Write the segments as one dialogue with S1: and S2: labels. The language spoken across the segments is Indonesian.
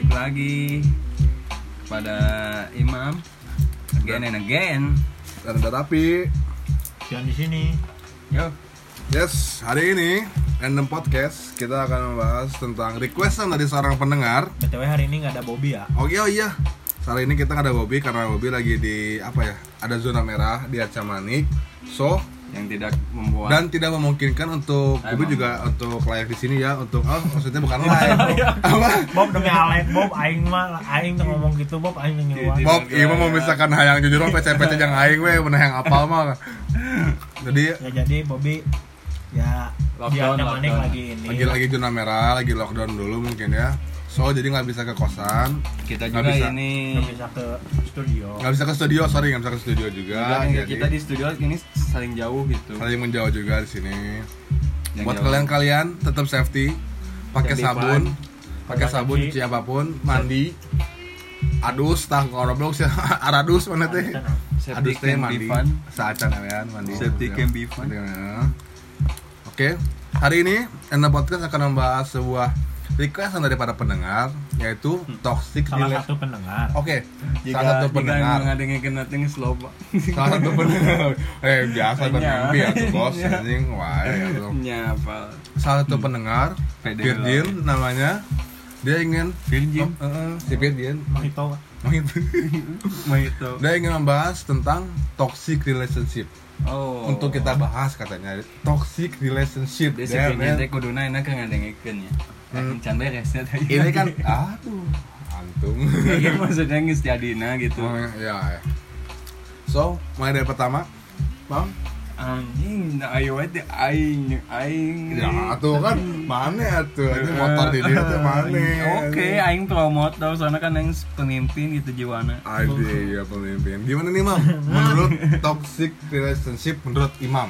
S1: lagi kepada Imam again and again.
S2: Dan udah tapi
S3: Jangan di sini.
S1: Yo,
S2: Yes, hari ini Random Podcast kita akan membahas tentang requestan dari seorang pendengar
S3: BTW hari ini nggak ada Bobby ya.
S2: Oh iya, oh iya Hari ini kita nggak ada Bobby karena Bobby lagi di apa ya Ada zona merah di Acamanik So,
S1: yang tidak membuat
S2: dan tidak memungkinkan untuk
S1: Emang.
S2: Bobby juga untuk live di sini ya untuk oh maksudnya bukan
S3: iya.
S2: live apa
S3: Ya. Bob demi Alek, Bob aing mah aing tuh ngomong gitu, Bob aing tuh nyuruhan.
S1: Jadi-
S2: Bob iya mau misalkan hayang jujur pecah pecah yang aing we mana yang apal mah jadi
S3: Ya jadi Bobby ya
S1: Lockdown,
S3: dia temanin
S1: lockdown.
S3: lagi ini.
S2: lagi lagi zona merah lagi lockdown dulu mungkin ya so jadi nggak bisa ke kosan
S1: kita
S2: nggak
S1: juga
S2: bisa.
S1: ini
S3: Nggak bisa ke studio.
S2: nggak bisa ke studio sorry nggak bisa ke studio juga
S1: juga nih,
S2: jadi
S1: kan, kita di studio ini saling jauh gitu.
S2: saling menjauh juga di sini
S1: Yang
S2: buat
S1: jauh.
S2: kalian-kalian tetap safety pakai
S1: Safety
S2: sabun pakai
S3: Pakai
S2: sabun
S3: cuci.
S2: cuci apapun mandi adus tah ngoroblok sih aradus mana teh
S3: Kan,
S1: Safety
S2: adus teh
S1: can be
S2: mandi
S1: fun.
S2: saacan kalian mandi
S1: Safety can be fun.
S2: Ya. oke hari ini Enda Podcast akan membahas sebuah requestan dari para pendengar yaitu toxic
S3: Salah
S2: rela-
S3: satu pendengar.
S2: Oke,
S1: Hmm. Jika
S2: salah satu
S1: Jika
S2: pendengar.
S1: mengadengin kena ting slow pak.
S2: salah satu pendengar eh biasa
S1: Iya.
S2: bermimpi ya tuh bos
S1: Iya.
S2: anjing wah ya tuh.
S1: Nyapa.
S2: salah satu pendengar
S1: Pede
S2: Virgil namanya dia ingin
S1: Virgin.
S2: Oh, eh, eh, si Virgil
S3: Emang itu
S2: Oh, itu.
S1: Mah itu.
S2: dia ingin membahas tentang toxic relationship
S1: Oh.
S2: untuk kita bahas katanya toxic relationship
S1: Dia sih
S2: Damn,
S1: kayaknya
S2: man.
S1: teh kuduna enak kan ngadengin ya.
S2: Hmm.
S1: Can beresnya ya tadi.
S2: ini kan aduh antum
S1: Iya maksudnya nggak setiadina gitu.
S2: Oh, ya ya. so mulai dari pertama bang
S1: Anjing, nah, ayo aja aing aing.
S2: ya tuh kan mana tuh ini motor di dia tuh mana
S1: Iya, Oke, aing promote tau soalnya kan aing pemimpin gitu jiwana.
S2: Ade ya pemimpin. Gimana nih Mam? Menurut toxic relationship menurut Imam.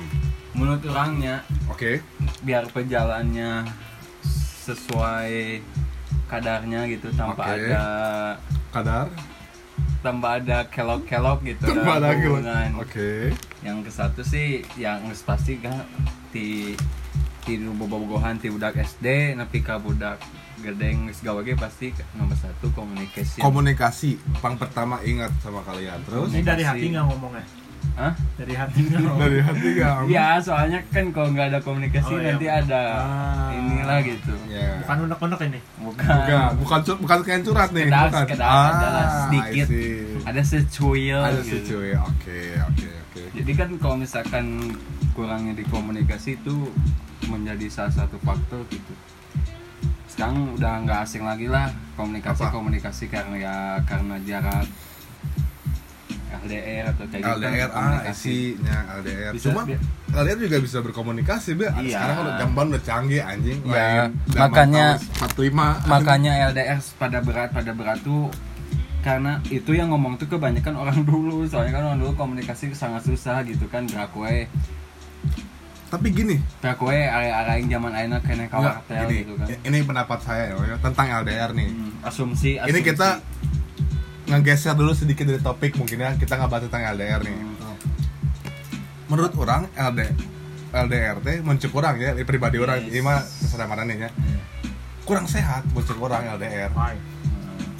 S1: Menurut orangnya
S2: Oke.
S1: biar perjalannya sesuai kadarnya gitu tanpa
S2: Oke.
S1: ada
S2: Kadar.
S1: tanpa ada kelok-kelok gitu dalam
S2: Tempat lagi. Oke.
S1: hubungan. yang ke satu sih yang geus pasti gak di di bobogohan ti budak SD nepi ka budak gedeng geus gawe ge pasti nomor satu communication
S2: Komunikasi. Pang pertama ingat sama kalian. Terus
S3: ini dari hati nggak ngomongnya.
S1: Hah?
S3: Dari hati nggak ngomong.
S2: dari hati kamu.
S1: ya soalnya kan kalau nggak ada komunikasi
S3: Oh, iya.
S1: nanti ada
S2: Ah.
S1: inilah gitu
S2: Ya.
S3: Bukan unek-unek ini.
S2: Bukan, bukan cu- bukan kayak curhat nih.
S1: sekedar
S2: bukan. Ah,
S1: sekedar adalah
S2: I
S1: sedikit
S2: see.
S1: ada secuil
S2: Ada
S1: gitu.
S2: sih cuy. Oke, oke, oke.
S1: jadi kan kalau misalkan kurangnya di komunikasi itu menjadi salah satu faktor gitu sekarang udah nggak asing lagi lah komunikasi
S2: Apa?
S1: komunikasi karena ya karena jarak LDR atau kayak gitu
S2: LDR, ah, isinya LDR.
S1: Bisa,
S2: Cuman
S1: bi-
S2: LDR juga bisa berkomunikasi, Bia.
S1: Iya.
S2: Sekarang udah jamban udah canggih anjing.
S1: Iya.
S2: Lain zaman
S1: Makanya-
S2: tahun 45.
S1: makanya LDR pada berat pada berat tuh karena itu yang ngomong tuh kebanyakan orang dulu soalnya kan orang dulu komunikasi sangat susah gitu kan gerak we
S2: Tapi gini,
S1: gerak we area-area yang zaman ayeuna kena
S2: Enggak,
S1: kawartel
S2: gini,
S1: gitu kan
S2: ini pendapat saya ya tentang LDR nih.
S1: Hmm, asumsi, asumsi
S2: Ini kita ngegeser dulu sedikit dari topik mungkin ya kita ngebahas tentang LDR nih.
S1: Hmm.
S2: Menurut orang LD LDR teh muncul kurang ya dari pribadi orang
S1: Yes. Hmm.
S2: ini mah terserah mana nih ya. Kurang sehat muncul kurang LDR.
S3: Why?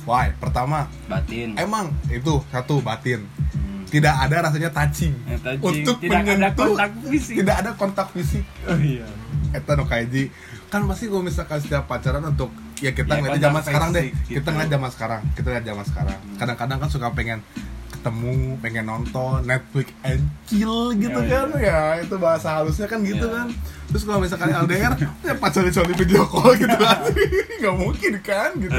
S2: Why? Pertama,
S1: Hmm, batin
S2: emang itu satu batin.
S1: Hmm.
S2: Tidak ada rasanya touching.
S1: Ya, touching.
S2: Untuk
S1: Tidak ada
S2: menyentuh,
S1: kontak fisik.
S2: Tidak ada kontak fisik.
S3: Oh iya.
S2: Eta no kaiji kan pasti kalau misalkan setiap pacaran untuk ya kita
S1: Ya,
S2: ngeliat
S1: kontak
S2: zaman sekarang deh
S1: fisik gitu. Hmm.
S2: kita ngeliat zaman sekarang kita ngeliat zaman sekarang kadang-kadang kan suka pengen ketemu pengen nonton Netflix and chill gitu
S1: Ya,
S2: kan ya itu bahasa halusnya kan gitu
S1: Ya.
S2: kan terus kalau misalkan LDR ya pacarnya cuma di video call gitu kan nggak mungkin kan gitu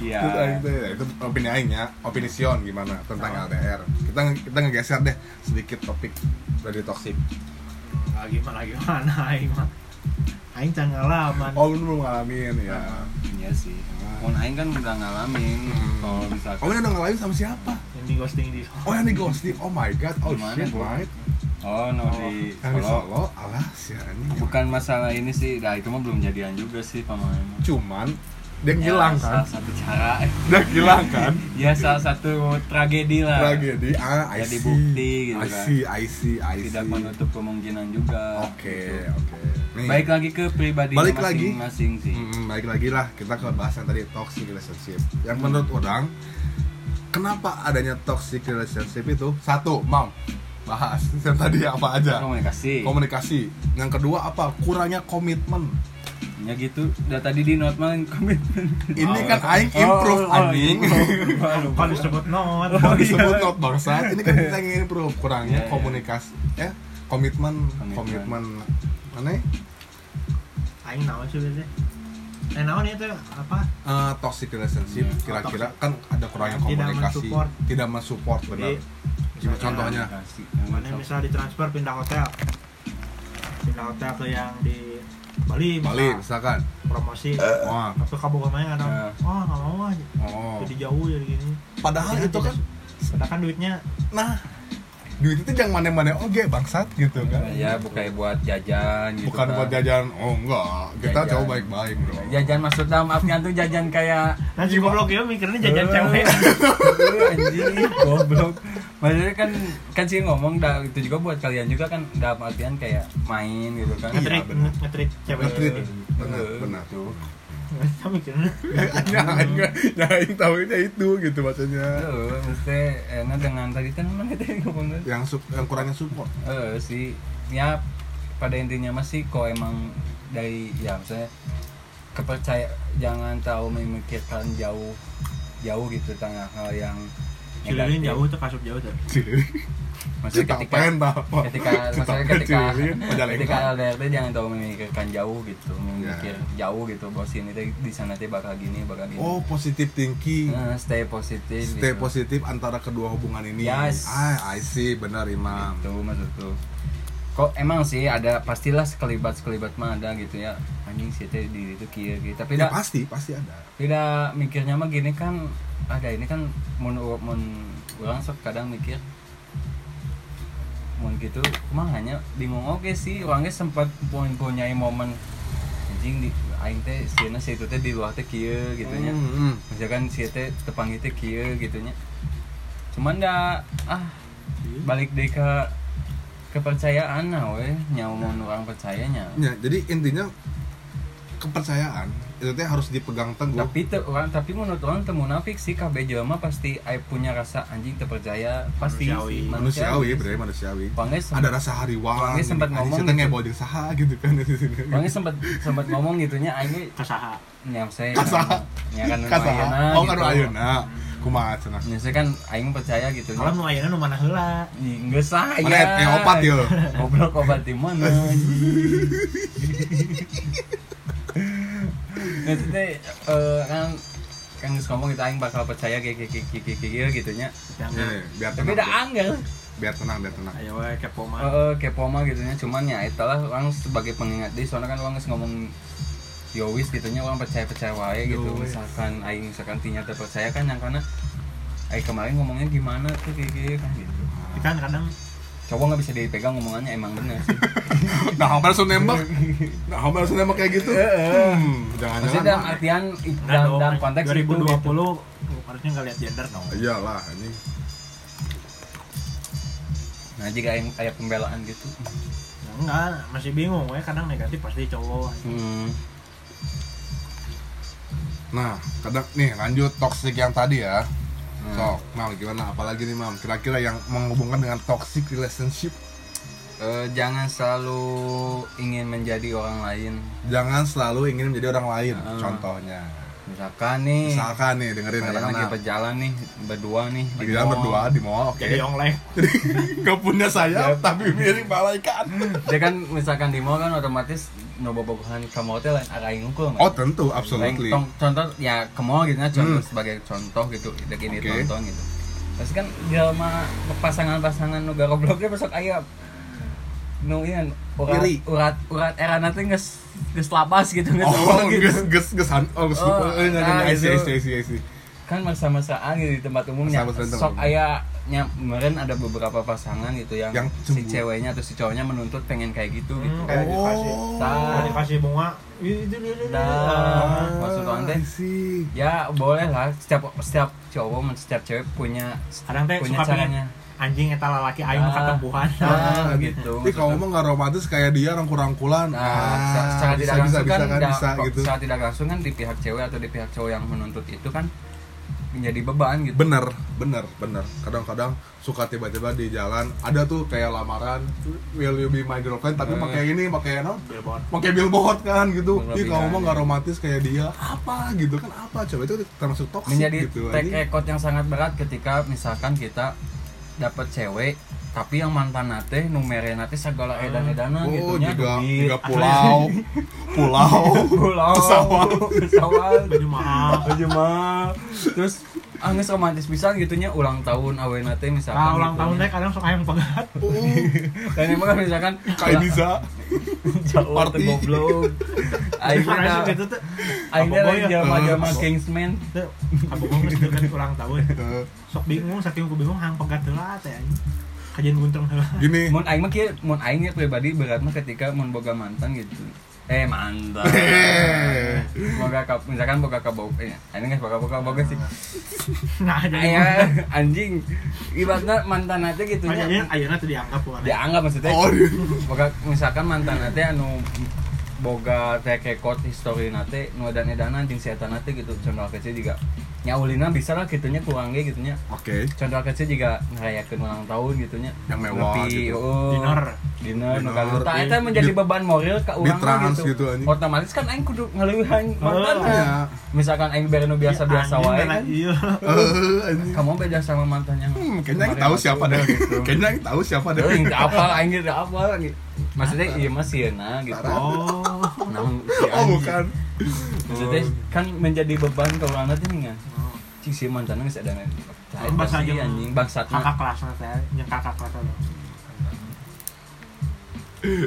S1: Iya.
S2: Terus akhirnya, ya, itu opini aing ya opini Sion gimana tentang
S1: Oh.
S2: LDR kita kita ngegeser deh sedikit topik dari toxic
S3: Lagi mana lagi mana aing mah. Aing can
S1: Kan.
S3: ngalaman.
S2: oh lu belum ngalamin ya
S1: Iya sih. Mun aing kan udah ngalamin
S2: Hmm.
S1: kalau misalkan
S2: Kamu udah ngalamin sama siapa?
S3: Yang di ghosting di
S2: Oh yang di ghosting, oh my god, oh
S1: Gimana,
S2: shit,
S1: Bu?
S2: right?
S1: oh no di
S2: Yang di
S1: Solo.
S2: Solo, alas ya ini
S1: Bukan masalah ini sih, nah itu mah belum jadian juga sih pemain.
S2: Cuman dia
S1: Ya,
S2: hilang kan
S1: salah satu cara
S2: dia hilang kan
S1: ya salah satu tragedi lah
S2: tragedi ah I
S1: Jadi
S2: see
S1: bukti Nah. gitu
S2: I
S1: kan.
S2: see I see I see
S1: tidak menutup kemungkinan juga
S2: oke
S1: gitu.
S2: oke Nih,
S1: baik lagi ke pribadi
S2: Balik lagi.
S1: masing-masing sih
S2: Hmm, baik lagi lah kita ke bahasan tadi toxic relationship. Yang menurut orang kenapa adanya toxic relationship itu satu mau bahas yang tadi apa aja
S1: komunikasi
S2: komunikasi yang kedua apa kurangnya komitmen
S1: ya gitu udah tadi di note mah Oh, komitmen
S2: ini
S3: Oh.
S2: kan aing improve anjing
S3: lupa disebut not
S2: Mau disebut
S1: iya.
S2: not bangsa ini kan kita ingin improve
S1: Iya,
S2: kurangnya
S1: iya.
S2: komunikasi eh komitmen
S1: Komitmen.
S2: komitmen mana ya?
S3: aing naon sih biasanya eh naon itu apa
S2: Eh, toxic relationship
S1: Iya.
S2: kira-kira kan ada kurangnya
S3: Tidak
S2: komunikasi
S3: mensupport.
S2: tidak mensupport benar
S1: Iya.
S3: jadi
S2: Gimana
S3: misalnya-
S2: contohnya?
S1: Komunikasi.
S3: mana misal ditransfer pindah hotel pindah hotel ke yang di Bali misal.
S2: Bali misalkan
S3: promosi
S2: Wah.
S3: tapi kabur kemana kadang
S1: Ya.
S3: oh nggak mau aja
S2: Oh.
S3: jadi jauh jadi gini
S2: Padahal
S3: Jadi
S2: itu
S3: tidak-
S2: kan
S3: padahal kan duitnya
S2: nah duit itu jangan mana-mana oge bangsat gitu kan.
S1: ya bukan buat jajan gitu
S2: Bukan
S1: kan. Iya,
S2: buat jajan. Oh enggak, kita
S1: Jajan.
S2: coba baik-baik, Bro.
S1: jajan maksud dalam maafnya tuh jajan kayak
S3: nah si goblok ya mikirnya jajan cewek
S1: Eh, anjing goblok maksudnya kan kan sih ngomong dah itu juga buat kalian juga kan dalam artian kayak main gitu kan
S2: Iya,
S3: ngetrik
S2: bener.
S3: ngetrik cewek
S2: Ngetrit. Benar,
S1: Eh,
S2: benar.
S1: gitu.
S3: Nggak mikirnya
S2: Ya, enggak. Nah, yang tahunya itu gitu maksudnya.
S1: Tuh, mesti enak dengan tadi kan mana tadi ngomongnya
S2: Yang sup- yang kurangnya support.
S1: eh sih ya pada intinya masih kok emang dari ya misalnya kepercaya jangan tahu memikirkan jauh jauh gitu tentang hal yang
S3: cililin jauh tuh kasup jauh tuh
S2: Cililin.
S1: maksudnya
S2: Cita
S1: ketika
S2: pen, apa?
S1: ketika
S2: Cita
S1: maksudnya
S2: pen,
S1: ketika
S2: cililin, Majalengka.
S1: ketika LDRT jangan tahu memikirkan jauh gitu memikir jauh gitu bos ini teh di sana teh bakal gini bakal gini
S2: Iya. Oh, positive thinking.
S1: Eh, stay positif
S2: Stay
S1: gitu.
S2: positif antara kedua hubungan ini.
S1: Yes.
S2: Ah, I see, benar Imam.
S1: gitu maksud tuh kok emang sih ada pastilah sekelibat sekelibat mah ada gitu ya anjing sih teh diri itu kia gitu tapi
S2: Ya,
S1: tidak
S2: pasti, pasti ada.
S1: tidak mikirnya mah gini kan ada ini kan mun mun orang sok kadang mikir mun gitu mah hanya bingung oke sih orangnya sempat mempunyai momen anjing di aing teh sieuna si itu teh di luar teh kieu gitu nya
S2: Hmm, hmm.
S1: misalkan si teh tepangi teh kieu gitu nya cuman da ah balik deh ke kepercayaan nah weh nyamun orang percayanya
S2: Ya, jadi intinya kepercayaan itu teh harus dipegang teguh.
S1: tapi te, orang tapi menurut orang teu munafik sih KB jelema pasti ai punya rasa anjing terpercaya pasti
S3: Manusiawi.
S1: sih,
S2: manusiawi, bre, manusiawi.
S1: Pange
S2: Ada
S1: sempat
S2: rasa hariwang.
S1: Wangi sempat ngomong
S2: Kita
S1: gitu.
S2: ngeboh jeung saha gitu kan di sini.
S1: Pange sempat sempat ngomong gitunya aing
S3: kasaha
S1: nyam saya
S2: Kasaha.
S1: ya kan
S2: Kasaha. Oh, kan ayeuna. Kumaha cenah?
S1: Nya saya kan aing percaya gitu
S3: kalau
S1: nya.
S3: mau ayana nu mana heula
S1: Enggak sah
S2: Mana eh opat ya.
S1: Goblok obat di mana? anjing? Maksudnya eh, kan kan geus ngomong kita aing bakal percaya kayak kayak kayak kayak kayak gitu nya.
S2: Nih, iya. biar tenang.
S1: Tapi da angel.
S2: Biar tenang, biar tenang.
S3: ayo wae kepo mah
S1: Heeh, kepo mah gitu nya. Cuman ya itulah orang sebagai pengingat deh soalnya kan orang geus ngomong Yowis gitu nya orang percaya-percaya wae gitu.
S2: Yo wis.
S1: Misalkan aing misalkan tinya terpercaya kan yang karena aing kemarin ngomongnya gimana tuh kayak kayak kan gitu.
S3: kan kadang
S1: Cowok nggak bisa dipegang ngomongannya emang bener sih.
S2: Nah, hampir langsung nembak. Nah, hampir langsung nembak kayak gitu. Hmm,
S1: Maksudnya
S2: jangan-jangan.
S1: dalam artian
S3: enggak
S1: dalam,
S3: dong,
S1: dalam konteks itu
S3: 2020
S1: gitu.
S3: harusnya nggak lihat gender dong
S2: Iyalah, anjing.
S1: Nah jika yang kayak pembelaan gitu.
S3: Ya, enggak masih bingung wae kadang negatif pasti cowok
S1: Hmm.
S2: Nah, kadang nih lanjut toxic yang tadi ya.
S1: Hmm.
S2: Sok, mal gimana? Apalagi nih, Mam? Kira-kira yang menghubungkan dengan toxic relationship
S1: Eh, jangan selalu ingin menjadi orang lain.
S2: jangan selalu ingin menjadi orang lain.
S1: Ah.
S2: Contohnya,
S1: Misalkan nih.
S2: misalkan nih dengerin
S1: kalian lagi
S2: anak-anak
S1: berjalan nih berdua nih. di
S2: lagi jalan
S1: mall.
S2: berdua di mall, oke.
S3: jadi online
S2: Gak punya sayap tapi mirip malaikat.
S1: Dia kan misalkan di mall kan otomatis nobo bobohan ke mall teh lain arah aing ngungkul.
S2: Oh tentu,
S1: Lain
S2: absolutely.
S1: tong- contoh ya ke mall gitu nah, contoh
S2: Hmm.
S1: sebagai contoh gitu dek ini
S2: Oke.
S1: tonton gitu. Terus kan jelema pasangan-pasangan nu goblok dia besok aya nu ieu urat
S2: Iri.
S1: urat urat erana teh geus geus lapas gitu geus
S2: Oh,
S1: awal gitu.
S2: ges ges ges han, oh ges
S1: Oh,
S2: oh, eh, nyanyi
S1: nah,
S2: nyanyi, I see,
S1: itu.
S2: I see, I see, I see.
S1: kan masa-masaan gitu di tempat umumnya
S2: Masa-masaan tempat
S1: sok
S2: umum.
S1: ayah nyam- kemarin ada beberapa pasangan gitu yang,
S2: Yang
S1: si
S2: cemburu.
S1: ceweknya atau si cowoknya menuntut pengen kayak gitu
S3: Hmm,
S1: gitu
S3: kayak dikasih
S2: Oh.
S1: Nah.
S2: Ah.
S3: kayak dikasih bunga Ih, itu dia, dia, dia.
S1: Nah.
S3: Ah.
S1: Maksud orang teh.
S2: I see.
S1: ya boleh lah setiap setiap cowok setiap cewek punya
S3: kadang teh
S1: punya
S3: suka
S1: caranya
S3: pengen anjing eta lalaki aing mah
S1: Ah.
S3: katempuhan
S1: Nah,
S2: Ah,
S1: gitu.
S2: Ih, kamu mah nggak romantis kayak dia rangkul-rangkulan. Ah,
S1: Nah, secara- secara tidak
S2: bisa, bisa,
S1: langsung kan,
S2: bisa, kan,
S1: da-
S2: bisa,
S1: kok-
S2: gitu.
S1: secara tidak langsung kan di pihak cewek atau di pihak cowok yang menuntut itu kan menjadi beban gitu.
S2: Bener, bener, bener. Kadang-kadang suka tiba-tiba di jalan ada tuh kayak lamaran Will you be my girlfriend tapi
S1: Eh.
S2: pakai ini, pakai no,
S3: billboard
S2: pakai billboard kan gitu.
S1: Berlebihan,
S2: Ih, kamu mah nggak
S1: ya.
S2: romantis kayak dia. Apa gitu kan? Apa coba itu termasuk toksik
S1: menjadi
S2: gitu.
S1: track
S2: anjing.
S1: record yang sangat berat ketika misalkan kita dapat cewek tapi yang mantan nate numere nate segala edan edanan
S2: Oh,
S1: gitu nya
S2: juga,
S1: duit,
S2: juga pulau, pulau,
S1: pulau
S2: pesawat.
S1: pesawat
S3: baju mahal
S1: aja mah terus angin romantis pisan gitunya ulang tahun awe nate misalkan
S3: nah ulang
S1: gitu
S3: tahun
S1: nya.
S3: teh kadang suka yang pegat
S2: Oh,
S1: dan emang kan misalkan
S2: kayak bisa.
S1: jauh
S2: Party.
S1: goblok akhirnya
S3: Karena gitu tuh
S1: akhirnya
S3: Apa
S1: lagi
S3: boy ya?
S1: jelma-jelma
S2: Eh,
S1: Kingsman
S3: aku mau ngestilkan ulang tahun
S2: Eh,
S3: sok bingung saking aku bingung hang pegat heula teh anjing kajian guntung heula
S2: Gini,
S1: mun aing mah kieu mun aing ya pribadi berat mah ketika mun boga mantan gitu eh mantan boga kap misalkan boga kabau eh aing nggak boga boga boga sih
S3: nah jadi
S1: Aya, anjing ibaratnya mantan aja gitu
S3: Makanya
S1: nya
S3: ayeuna- ayeuna tuh dianggap warna.
S1: dianggap maksudnya
S2: oh,
S1: boga misalkan mantan nate anu boga teh kekot histori nate nu dan edanan jeung si eta nate gitu contoh kecil juga nyaulina bisa lah gitunya kurang ge gitunya
S2: oke.
S1: contoh kecil juga ngerayakeun ulang tahun gitunya
S2: Yang mewah gitu.
S1: oh,
S3: Dinner.
S1: dinner nu
S2: Dinner,
S1: kaluta
S2: di-
S1: eta menjadi
S2: di-
S1: beban moral ke urang
S2: di trans
S1: gitu.
S2: gitu, anjing.
S1: otomatis kan aing kudu ngaleuhan mantan
S2: Ya.
S1: misalkan aing bere nu biasa-biasa
S3: Oh. Anjing,
S1: wae
S3: karena
S1: kan
S3: iya
S2: Eh, anjing.
S1: kamu beda sama mantan yang
S2: Hmm, kayaknya yang
S1: kemarin
S2: tahu
S1: waktu
S2: siapa deh.
S1: gitu.
S2: Kayaknya yang tahu siapa deh.
S1: Euy, teu apal aing teu apal gitu. maksudnya iya mah sieuna gitu
S3: oh
S1: Nah, si
S2: Oh,
S1: anjing.
S2: bukan.
S1: maksudnya kan menjadi beban ke urang teh nih kan cing si mantanna geus ada
S3: Lain bahasa
S1: Si
S3: jeung
S1: anjing bangsatna
S3: kakak kelasnya teh yang kakak kelasnya teh.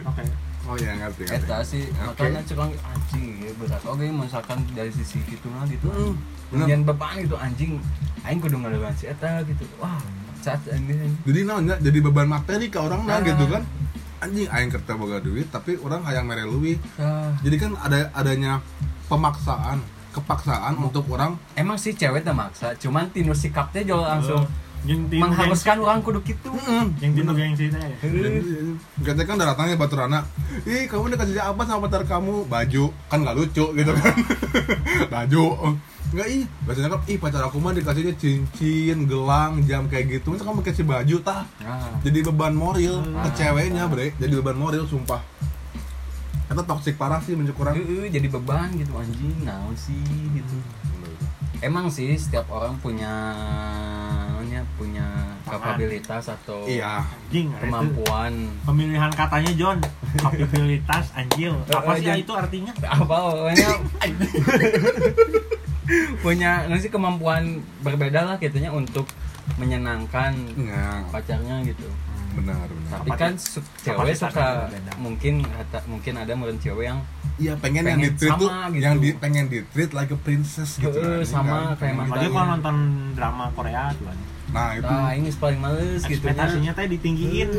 S3: oke
S2: Oh
S1: iya,
S2: ya ngerti ngerti.
S1: Eta sih,
S2: Oke.
S1: makanya cuman anjing ya berat Oke, misalkan dari sisi gitu lah gitu
S2: Hmm, bener.
S1: Kemudian beban gitu anjing Aing kudu ngelawan si Eta gitu Wah, saat ini
S2: Jadi naonnya jadi beban materi ke orang nah
S1: Ah.
S2: gitu kan. Anjing aing kerta boga duit tapi orang hayang mere leuwih.
S1: Ah.
S2: Jadi kan ada adanya pemaksaan, kepaksaan untuk orang
S1: Emang sih cewek teh maksa, cuman tinu sikapnya
S2: Iya.
S1: jauh langsung
S3: Eh, yang tinu gengsi
S1: Mengharuskan orang kudu gitu
S2: Hmm. "Mm,
S3: yang tinu gengsi teh
S2: Katanya kan datangnya batu rana Ih kamu udah kasih apa sama pacar kamu? Baju Kan gak lucu gitu kan Baju Enggak ih Biasanya kan Ih pacar aku mah dikasihnya cincin, gelang, jam kayak gitu Masa kamu kasih baju tah
S1: Nah,
S2: Jadi beban moral ke
S1: Ah.
S2: ceweknya bre Jadi beban moral sumpah Kata toksik parah sih menurut orang
S1: eh, eh, jadi beban gitu anjing, naon sih gitu Emang sih setiap orang punya nya, punya
S3: Tangan.
S1: kapabilitas atau
S2: Iya
S3: anjing itu.
S1: kemampuan
S3: pemilihan katanya John kapabilitas anjing apa
S1: Eh,
S3: sih ya,
S1: John.
S3: itu artinya
S1: apa pokoknya punya nggak sih kemampuan berbeda lah gitunya untuk menyenangkan
S2: Nah,
S1: pacarnya gitu
S2: benar benar
S1: tapi
S3: Kapasitas-
S1: kan su- cewek
S3: kapasitasnya
S1: suka
S3: berbeda.
S1: mungkin rata- mungkin ada meren cewek yang
S2: Iya pengen, yang
S1: Pengen
S2: di
S1: sama
S2: treat tuh
S1: gitu.
S2: Yang di, pengen di treat like a princess gitu
S1: Eh,
S2: anjing,
S1: sama kayak
S2: Gitu.
S3: apalagi
S1: Makanya.
S3: kalau nonton drama Korea tuh anjing.
S2: Nah itu
S1: ah ini paling males gitu
S3: ekspektasinya teh ditinggiin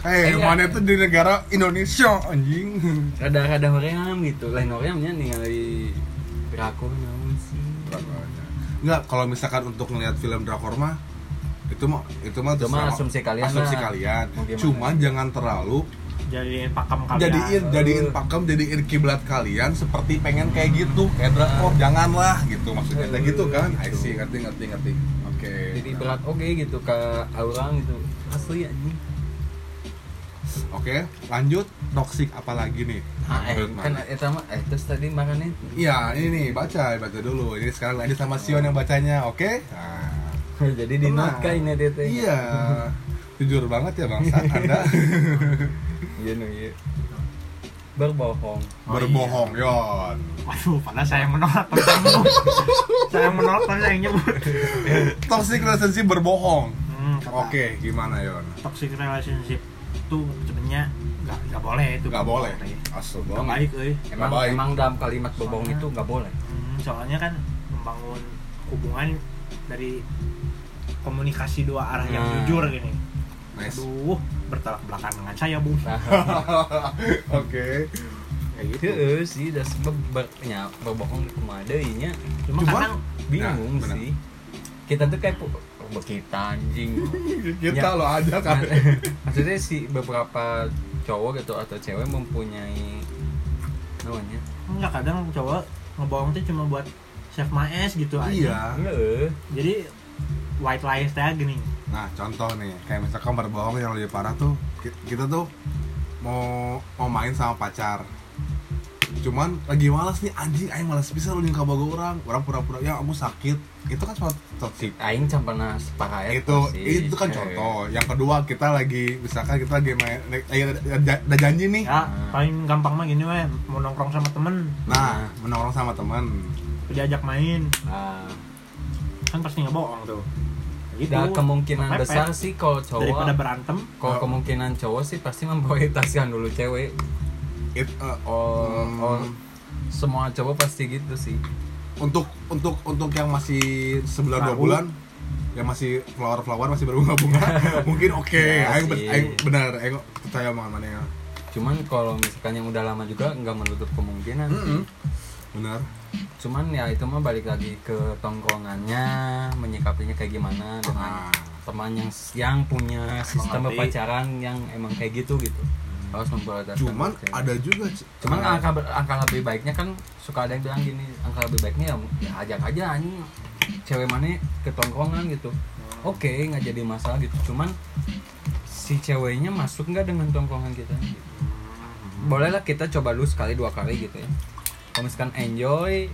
S2: Eh,
S1: Iya.
S2: mana itu di negara Indonesia anjing.
S1: ada ada hoream gitu lain horeamnya ningali drakor naon "Ya sih
S2: Enggak, kalau misalkan untuk ngelihat film drakor mah itu mah itu mah
S1: Itu mah
S2: terserah-
S1: asumsi kalian
S2: asumsi
S1: lah.
S2: kalian.
S1: Mau gimana?
S2: Cuman jangan terlalu
S3: jadiin pakem kalian
S2: jadiin jadiin pakem jadiin kiblat kalian seperti pengen kayak gitu kayak drakor janganlah gitu maksudnya kayak gitu kan I see ngerti ngerti ngerti oke
S1: Iya, jadi berat oke gitu ke orang gitu asli anjing
S2: oke lanjut toxic apalagi nih
S1: Ah, eh,
S2: Menurut
S1: kan
S2: Nah, Mana?
S1: itu mah eh terus tadi makannya
S2: iya ini nih baca baca dulu ini sekarang lanjut sama Sion yang bacanya oke Nah.
S1: jadi di
S2: Tenang.
S1: note kah ini dia teh?
S2: Iya. Jujur banget ya bangsa Anda
S3: Oh,
S1: Iya nu iya. Berbohong.
S3: Oh,
S2: berbohong, Yon.
S3: Waduh, padahal saya yang menolak tersambung. saya yang menolak tapi yang nyebut.
S2: Toxic relationship berbohong.
S3: Hmm, kata
S2: Oke, gimana Yon?
S3: Toxic relationship itu sebenarnya nggak nggak boleh itu.
S2: Gak boleh.
S3: Nggak
S2: Asal
S3: baik, eh. euy.
S1: Emang
S2: Nggak baik.
S1: emang dalam kalimat berbohong
S3: Soalnya-
S1: itu nggak boleh.
S3: Hmm, soalnya kan membangun hubungan dari komunikasi dua arah yang
S2: Hmm.
S1: Nah.
S3: jujur gini
S2: Nice.
S3: aduh bertolak belakang dengan saya bu
S2: Nah, Oke.
S3: kayak gitu
S1: Heeh Iya, eh, sih, udah sebab bernya ya, berbohong kemadainya
S3: cuma
S2: Cuma-
S3: kadang
S1: iya. bingung
S2: Nah, benar.
S1: sih. Kita tuh kayak pu- oh, kita anjing.
S2: Kita
S1: Ya.
S2: lo aja kan.
S3: Nah,
S1: Maksudnya si beberapa cowok gitu atau cewek mempunyai namanya.
S3: enggak kadang cowok ngebohong tuh cuma buat save my ass gitu aja
S2: iya.
S1: Heeh.
S3: jadi white lies teh gini
S2: Nah, contoh nih, kayak misalkan berbohong yang lebih parah tuh ki- kita tuh mau mau main sama pacar. Cuman lagi malas nih anjing aing malas bisa lu jeung kabogo orang. Orang pura-pura ya aku sakit. Itu kan suatu toxic.
S1: Aing can pernah sepakat
S2: itu itu kan contoh. Yang kedua kita lagi misalkan kita lagi main eh, ada janji nih.
S3: ya
S1: Hmm.
S3: paling gampang mah gini weh mau nongkrong sama temen
S2: Nah, menorong sama temen
S3: diajak main
S1: Nah,
S3: kan pasti ngebohong tuh gitu
S1: dan kemungkinan
S3: Mepet.
S1: besar sih kalau cowok
S3: daripada berantem
S1: kalau kemungkinan cowok sih pasti memprioritaskan dulu cewek.
S2: It, eh,
S1: Oh,
S2: Hmm.
S1: oh, semua cowok pasti gitu sih.
S2: untuk untuk untuk yang masih sebulan dua
S3: Baru.
S2: bulan yang masih flower flower masih berbunga-bunga mungkin oke
S1: Ya
S2: aing, ben-
S1: sih.
S2: aing benar aing percaya omongan mana ya
S1: Cuman kalau misalkan yang udah lama juga nggak menutup kemungkinan
S2: Hmm.
S1: sih.
S2: benar
S1: Cuman ya itu mah balik lagi ke tongkrongannya, menyikapinya kayak gimana dengan
S2: Ah.
S1: teman yang yang punya sistem
S3: Mengerti.
S1: pacaran yang emang kayak gitu gitu. Harus memprioritaskan.
S2: Hmm. cuman
S1: cewek.
S2: ada juga C- Ah.
S1: cuman
S2: ada-
S1: angka ber- angka lebih baiknya kan suka ada yang bilang gini angka lebih baiknya ya, ya ajak aja anjing cewek mana ke tongkrongan gitu oke nggak jadi masalah gitu cuman si ceweknya masuk nggak dengan tongkrongan kita bolehlah kita coba dulu sekali dua kali gitu ya kalau misalkan enjoy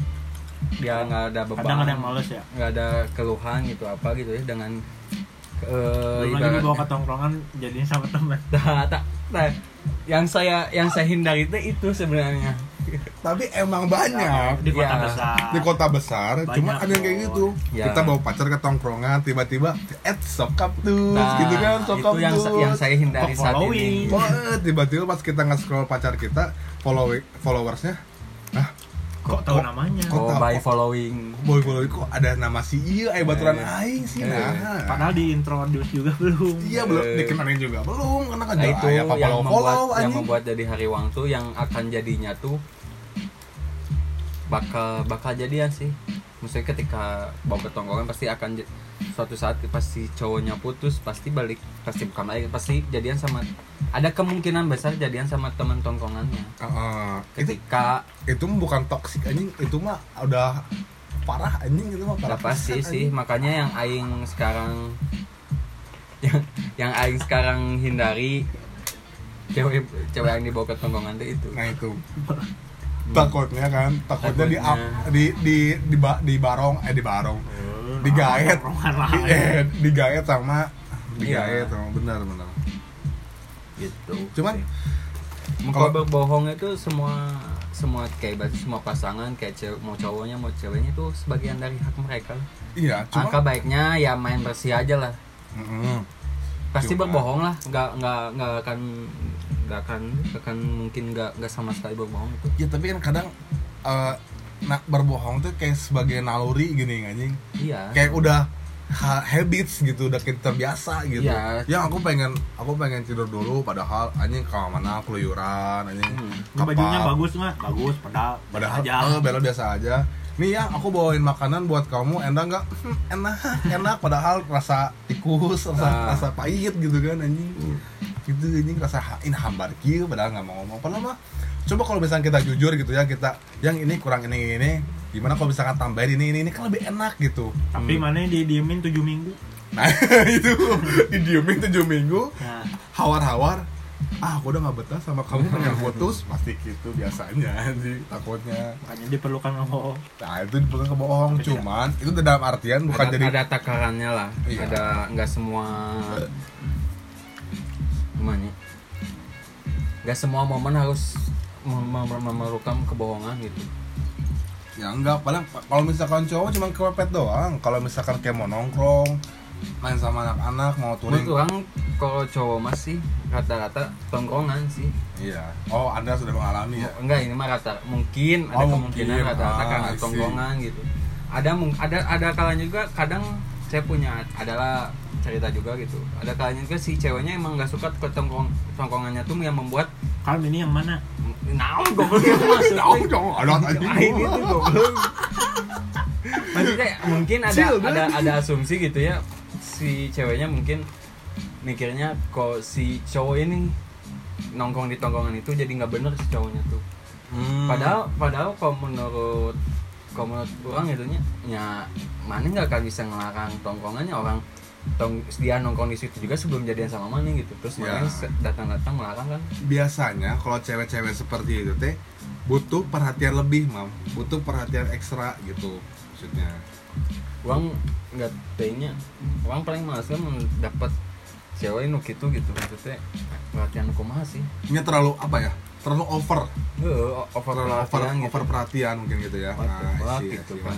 S1: dia nggak ada beban
S3: kadang ada yang males ya
S1: nggak ada keluhan gitu apa gitu ya dengan eh,
S3: belum lagi
S1: ibaratnya-
S3: dibawa ke tongkrongan jadinya sama temen
S1: Nah, tak- nah, yang saya yang saya hindari itu itu sebenarnya
S2: tapi emang banyak
S3: di kota
S1: Ya.
S3: besar
S2: di kota besar
S3: Banyak,
S2: cuman ada yang kayak
S3: Boy.
S2: gitu
S1: Ya.
S2: kita bawa pacar ke tongkrongan tiba-tiba eh sokap tuh
S1: Nah,
S2: gitu kan sokap
S1: itu yang
S2: tuh
S1: yang saya hindari saat ini.
S3: Following.
S2: Wah, tiba-tiba pas kita nge-scroll pacar kita follow followersnya ah
S3: kok tahu namanya
S2: Kok
S1: Oh,
S2: tahu?
S1: by following.
S2: boy boy kok ada nama si iya eh baturan
S1: Eh.
S2: aing
S1: Eh.
S2: sih nah
S3: padahal di introduce juga belum
S2: iya belum
S1: Eh.
S2: dikenalin juga belum karena kan
S1: Nah,
S2: ya,
S1: itu
S2: ya, apa
S1: yang
S2: follow
S1: membuat
S2: follow
S1: yang
S2: anjing
S1: membuat dari hari Wang tuh yang akan jadinya tuh bakal bakal jadian sih. Maksudnya ketika bawa ke tongkrongan kan pasti akan j- suatu saat pasti cowoknya putus pasti balik pasti bukan lagi pasti jadian sama ada kemungkinan besar jadian sama teman tongkrongannya
S2: Heeh. itu
S1: ketika
S2: itu mah bukan toksik anjing itu mah udah parah anjing itu mah
S1: Lah
S2: parah
S1: pasti
S2: pisan,
S1: sih,
S2: anjing.
S1: makanya yang aing sekarang yang yang aing sekarang hindari cewek cewek yang dibawa ke tongkongan tuh itu.
S2: nah itu takutnya kan takutnya di up,
S1: Hmm. Takutnya.
S2: di di di, ba- di barong eh di barong
S3: Eh,
S2: digaet
S3: tongkrongan lah
S2: di, eh, digaet sama
S1: Iya.
S2: digaet sama benar benar
S1: Gitu.
S2: cuman
S1: kalau berbohong itu semua semua kayak berarti semua pasangan kayak cewek- mau cowoknya mau ceweknya itu sebagian dari hak mereka. lah.
S2: iya cuma
S1: Angka baiknya ya main bersih aja lah.
S2: Mm-mm.
S1: Pasti
S2: Cuma-
S1: berbohong lah, nggak nggak nggak akan nggak akan nggak akan mungkin nggak nggak sama sekali berbohong itu.
S2: ya tapi kan kadang eh, nak berbohong tuh kayak sebagai naluri gini anjing
S1: Iya.
S2: kayak udah ha- habits gitu udah kita terbiasa gitu
S1: Iya.
S2: ya aku pengen aku pengen tidur dulu padahal anjing ke mana keluyuran anjing
S1: Hmm.
S3: Ini bajunya
S2: kapal.
S3: bagus mah bagus padahal
S2: padahal
S3: aja
S2: eh, bela biasa aja nih ya aku bawain makanan buat kamu enak nggak Hmm, enak enak padahal rasa tikus rasa
S3: Ah.
S1: Nah.
S2: rasa pahit gitu kan anjing
S3: Hmm.
S2: gitu anjing rasa hain hambar kieu padahal nggak mau ngomong padahal mah coba kalau misalkan kita jujur gitu ya kita yang ini kurang ini ini gimana kalau misalkan tambahin ini ini ini kan lebih enak gitu
S3: tapi
S1: Hmm.
S3: mana didiemin 7 minggu
S2: nah itu didiemin tujuh minggu
S3: nah
S2: hawar-hawar ah aku udah nggak betah sama kamu pengen putus pasti gitu biasanya anjing takutnya
S3: makanya diperlukan ngebohong
S2: Nah itu bukan kebohong,
S3: Tapi tidak.
S2: cuman itu dalam artian bukan
S1: Iya. ada,
S2: jadi
S1: ada takarannya lah
S2: Iya.
S1: ada nggak semua gimana ya? nggak semua momen harus mem- mem- memerlukan kebohongan gitu
S2: ya enggak paling kalau misalkan cowok cuma kepepet doang. Kalau misalkan kayak mau nongkrong, main sama anak-anak, mau touring.
S1: menurut orang kalau cowok masih rata-rata tongkrongan sih
S2: Iya. Oh, Anda sudah mengalami ya.
S1: enggak ini mah rata mungkin ada
S2: Oh,
S1: kemungkinan
S2: mungkin.
S1: rata-rata
S2: Ah,
S1: karena
S2: I see.
S1: tongkrongan gitu ada mung- ada ada kalanya juga kadang saya punya adalah cerita juga gitu ada kalanya juga si ceweknya emang nggak suka ke tongkong tongkongannya tuh yang membuat
S3: Kalem ini yang mana?
S1: naon goblok ya maksudnya
S2: Tahu dong, ada
S1: Lain
S2: anjing.
S1: itu goblok maksudnya mungkin ada
S2: Chill,
S1: ada
S2: bro.
S1: ada asumsi gitu ya si ceweknya mungkin mikirnya kok si cowok ini nongkrong di tongkongan itu jadi nggak bener si cowoknya tuh
S2: Hmm.
S1: padahal padahal kalau menurut kalau menurut orang itu nya ya mana nggak akan bisa ngelarang tongkongannya orang tong dia nongkrong di situ juga sebelum jadian sama mana gitu terus
S2: Ya.
S1: mana datang datang melarang kan
S2: biasanya kalau cewek-cewek seperti itu teh butuh perhatian lebih mam butuh perhatian ekstra gitu maksudnya
S1: orang nggak tanya orang paling males kan mendapat cewek nu gitu gitu maksudnya perhatian kumaha sih
S2: ini terlalu apa ya terlalu over
S1: Heeh, over
S2: terlalu over
S1: perhatian gitu
S2: over perhatian mungkin gitu ya
S1: What the fuck gitu kan.
S2: kan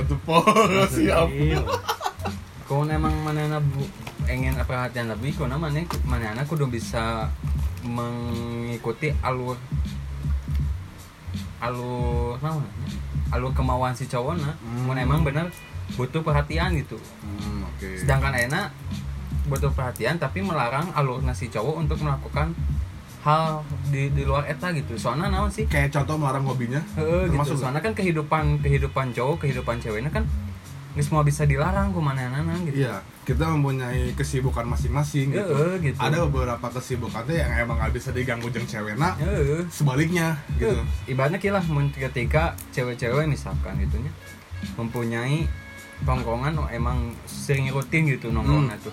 S2: what the fuck siap
S3: Iya.
S1: kalau emang mana bu pengen perhatian lebih kau mana mana kudu bisa mengikuti alur alur naon ya? alur kemauan si cowok nah
S2: Hmm.
S1: emang bener butuh perhatian gitu
S2: hmm, oke
S1: sedangkan enak butuh perhatian tapi melarang alur si cowok untuk melakukan hal di, di luar eta gitu soalnya naon sih
S2: kayak contoh melarang hobinya
S1: Heeh, gitu.
S2: Termasuk-
S1: Soalnya kan kehidupan kehidupan cowok, kehidupan ceweknya kan nggak semua bisa dilarang kemana-mana gitu.
S2: iya kita mempunyai kesibukan masing-masing gitu
S1: Heeh, gitu.
S2: ada beberapa kesibukan teh yang emang gak bisa diganggu jeung cewekna
S1: Heeh.
S2: sebaliknya gitu
S1: Gitu. Ibaratnya kilah mun ketika cewek-cewek misalkan gitunya mempunyai tongkongan oh, emang sering rutin gitu
S2: Hmm,
S1: nongkrongnya tuh.
S2: oke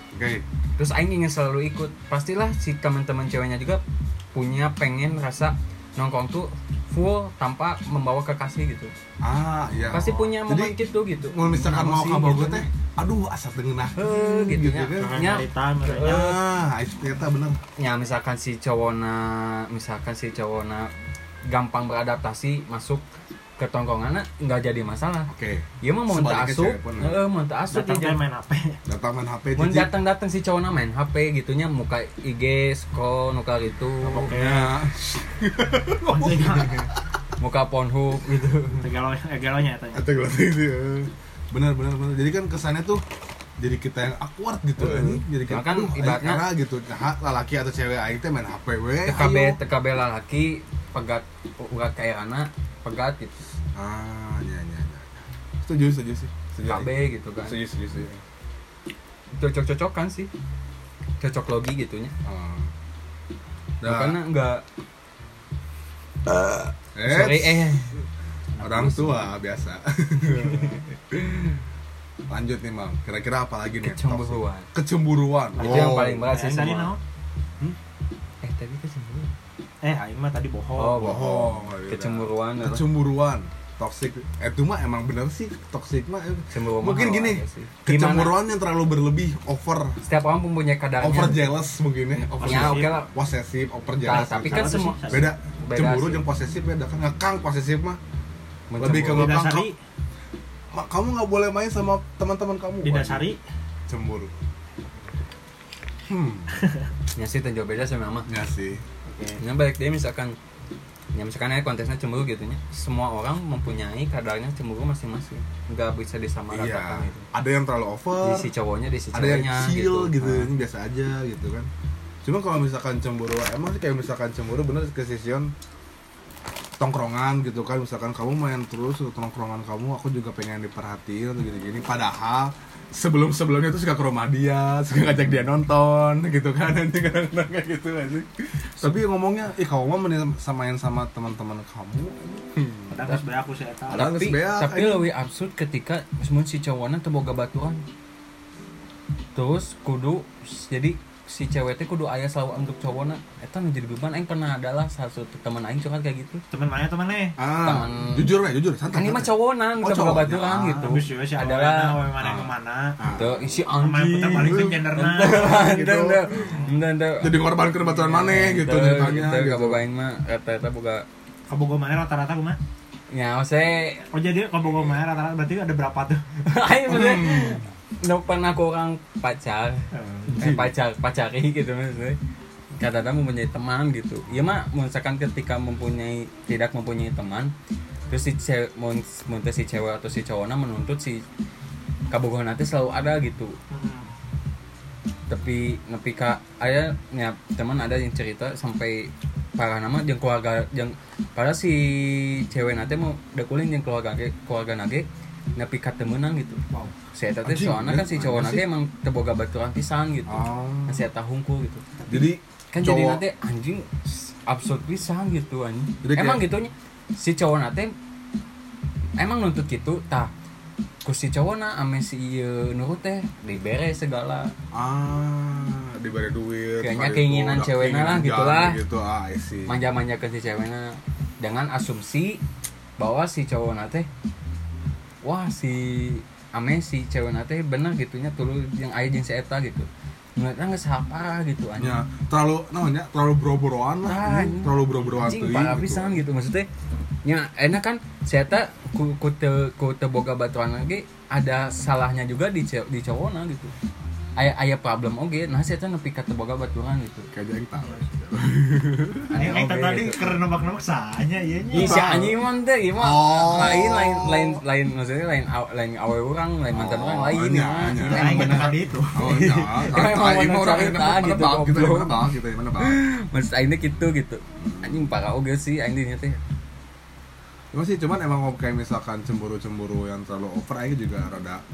S1: Terus aing ingin selalu ikut. Pastilah si teman-teman ceweknya juga punya pengen rasa nongkrong tuh full tanpa membawa kekasih gitu.
S2: ah iya
S1: Pasti punya
S2: Jadi,
S1: momen gitu gitu.
S2: mau misalkan
S1: Kenapa
S2: mau
S1: sih,
S2: kabel gue
S1: gitu,
S2: teh aduh asap dengenah
S1: Heeh, gitu,
S2: Gitu
S1: nya.
S2: kan.
S1: Nya,
S3: Cerita merenya.
S1: Eh.
S2: ah itu ternyata bener
S1: ya misalkan si cowona misalkan si cowona gampang beradaptasi masuk ke tongkongan nggak jadi masalah
S2: oke
S1: ya mah mau
S2: Sebaliknya
S1: tak asup
S2: cewek pun.
S1: heeh mau tak asup
S3: Datang teh
S1: dia
S3: main HP.
S2: datang main HP
S1: mau
S2: jadi
S1: datang datang si cowona main HP gitunya muka IG scroll muka gitu
S2: ya
S1: muka Pornhub gitu
S3: Tegalo tegalonya tanya.
S2: atau gue gitu ya. bener bener bener jadi kan kesannya tuh jadi kita yang awkward gitu
S1: Heeh.
S2: ini jadi kita
S1: Bahkan ibaratnya-
S2: gitu nah lalaki atau cewek aing teh main HP we
S1: TKB
S2: ayo.
S1: TKB laki pegat urat kayak anak pegat gitu
S2: ah iya iya iya setuju setuju sih setuju
S1: TKB
S2: aing.
S1: gitu kan
S2: setuju setuju setuju
S1: cocok cocokan sih cocok logi gitunya
S2: Ah. Nah,
S1: karena nggak
S2: eh,
S1: sorry eh
S2: orang tua biasa lanjut nih mam kira-kira apa lagi nih
S1: Kecemburuan.
S2: kecemburuan
S1: Itu yang paling berat sih
S3: Yang tadi
S1: semua.
S3: naon?
S1: Eh tadi kecemburuan.
S3: Eh, aing mah tadi
S1: Oh,
S3: bohong.
S1: bohong.
S2: bohong. iya.
S1: Kecemburuan. adalah-
S2: kecemburuan toksik eh, itu mah emang bener sih toksik mah eh.
S1: Kecemburuan
S2: mungkin
S1: mahal
S2: gini
S1: aja sih.
S2: kecemburuan yang terlalu berlebih over
S1: Gimana? Setiap orang punya kadarnya.
S2: over jealous mungkin ya over
S1: Ya
S2: jealous.
S1: oke lah.
S2: posesif over
S1: iya. Nah,
S2: jealous
S1: tapi
S2: gitu.
S1: kan
S3: Sama
S1: semua
S3: sih.
S2: beda
S1: Beda
S2: cemburu
S1: sih.
S2: yang posesif beda kan ngekang posesif mah
S1: Mencemburu.
S2: lebih ke ngekang
S3: Didasari,
S2: "Ma, kamu nggak boleh main sama teman-teman kamu
S3: didasari
S2: Waduh, cemburu hmm
S1: ya sih tenjauh beda sama mama.
S2: ya sih
S1: Nah, balik dia misalkan ya misalkan ya kontesnya cemburu gitu nya. Semua orang mempunyai kadarnya cemburu masing-masing. Enggak bisa
S2: iya
S1: disamaratakan gitu.
S2: ada yang terlalu
S1: Di
S2: over
S1: si cowoknya, di si
S2: ada yang
S1: ceweknya
S2: chill gitu,
S1: Nah,
S2: ini biasa aja gitu kan cuma kalau misalkan cemburu emang sih kayak misalkan cemburu bener ke session tongkrongan gitu kan misalkan kamu main terus ke tongkrongan kamu aku juga pengen diperhatiin gitu gini padahal sebelum sebelumnya tuh suka ke rumah dia suka ngajak dia nonton gitu kan nanti kadang-kadang kayak gitu anjing. tapi ngomongnya ih kamu mah mending samain sama teman-teman kamu
S3: datang geus bae aku sih
S2: Ada
S3: eta.
S1: Nah, Tapi,
S2: geus beak,
S1: tapi
S2: anjing.
S1: lebih absurd ketika semua si cowoknya terboga batuan. Terus kudu jadi si cewek teh kudu ayah selalu untuk cowoknya. Eta nu jadi beban aing pernah adalah salah satu teman aing curhat kayak gitu.
S3: Temen mana temen eh?
S2: ah
S1: Teman-
S2: jujur ya jujur santai
S1: Kan ini mah
S2: santai.
S1: cowonan,
S2: Oh,
S1: oh, boga
S2: cowoknya.
S1: batuan gitu.
S3: Habis juga sih
S1: adalah
S3: awalnya, awalnya mana kemana?
S2: Ah.
S1: Tuh, isi
S3: Main
S1: anjing.
S3: putar balik jeung genderna.
S1: Entah, entah, entah, entah.
S2: jadi korban kerebatan maneh gitu
S1: Entah,
S2: ceritanya
S1: gitu,
S2: gitu.
S1: kabogain mah eta-eta boga
S3: Kabogo mana rata-rata kumaha?
S1: nya maksudnya
S3: Oh jadi kabogo mana rata-rata berarti ada berapa tuh?
S1: aing maksudnya
S2: Hmm.
S1: nu pernah kurang pacar. eh, pacar pacari gitu maksudnya kadang-kadang mempunyai teman gitu ya mah misalkan ketika mempunyai tidak mempunyai teman terus si cewek mun, mun teh si cewek atau si cowoknya menuntut si kabogohan nanti selalu ada gitu
S3: Hmm.
S1: tapi nepi ka aya nya teman ada yang cerita sampai parah nama jeung keluarga jeung para si cewek nate mau dekuling jeung keluarga ge- keluarga nage nepi ka temenan gitu
S3: Wow.
S1: si eta teh
S2: Anjing,
S1: soalna kan si
S2: anjing
S1: cowok
S2: sih.
S1: nage emang teboga baturan pisan gitu
S2: Ah.
S1: kan si eta hungkul gitu
S2: jadi
S1: kan jadi
S2: cowok
S1: nate anjing absurd pisan gitu anjing
S2: Jadi kayak-
S1: emang gitunya si cowok nate emang nuntut gitu tah ku si cowok na ame si ieu nurut teh dibere segala
S2: ah diberi duit
S1: Kayaknya
S2: diberi
S1: keinginan
S2: produk,
S1: ceweknya lah,
S2: keinginan
S1: gitulah.
S2: jalan gitu ah I see.
S1: manja-manjakan si ceweknya dengan asumsi bahwa si cowok nate wah si ame si cewek nate bener gitu, gitunya tulu yang aya jeung si eta gitu ngeliatnya nggak parah gitu
S2: Ya,
S1: anjing
S2: terlalu namanya terlalu bro-broan lah
S1: Ah,
S2: anjing.
S1: anjing.
S2: terlalu bro-broan
S1: anjing
S2: teuing
S1: parah pisan gitu maksudnya ya enak kan si eta ku ku teu- ku teu boga baturan lagi ada salahnya juga di ce- di cowokna gitu aya aya problem oge nah si eta nepi ka teu boga baturan gitu
S2: kayaknya yang tahu
S3: Yang
S1: Aneh
S3: kita
S1: oge
S3: tadi
S1: gitu.
S3: karena nembak-nembak sahanya iya
S1: Ih, si
S2: Tahu.
S1: anjing mah teh gimana?
S2: Oh.
S1: Lain lain lain lain maksudnya lain aw- lain awe orang, lain mantan
S2: Oh,
S1: orang lain
S2: iya,
S1: mah.
S2: iya.
S1: Ini
S3: Nah,
S1: emang
S3: yang
S1: bener.
S3: tadi itu.
S2: oh iya
S1: Emang
S2: Ah, ini
S1: bener
S2: orang yang
S1: cerita
S2: mana
S1: gitu,
S2: bang gitu
S1: goblok.
S2: mana bang gitu mana bang
S1: Maksud aing teh gitu gitu. Anjing parah oge sih aing dinya teh.
S2: Cuma sih cuman emang kalau kayak misalkan cemburu-cemburu yang terlalu over aja juga rada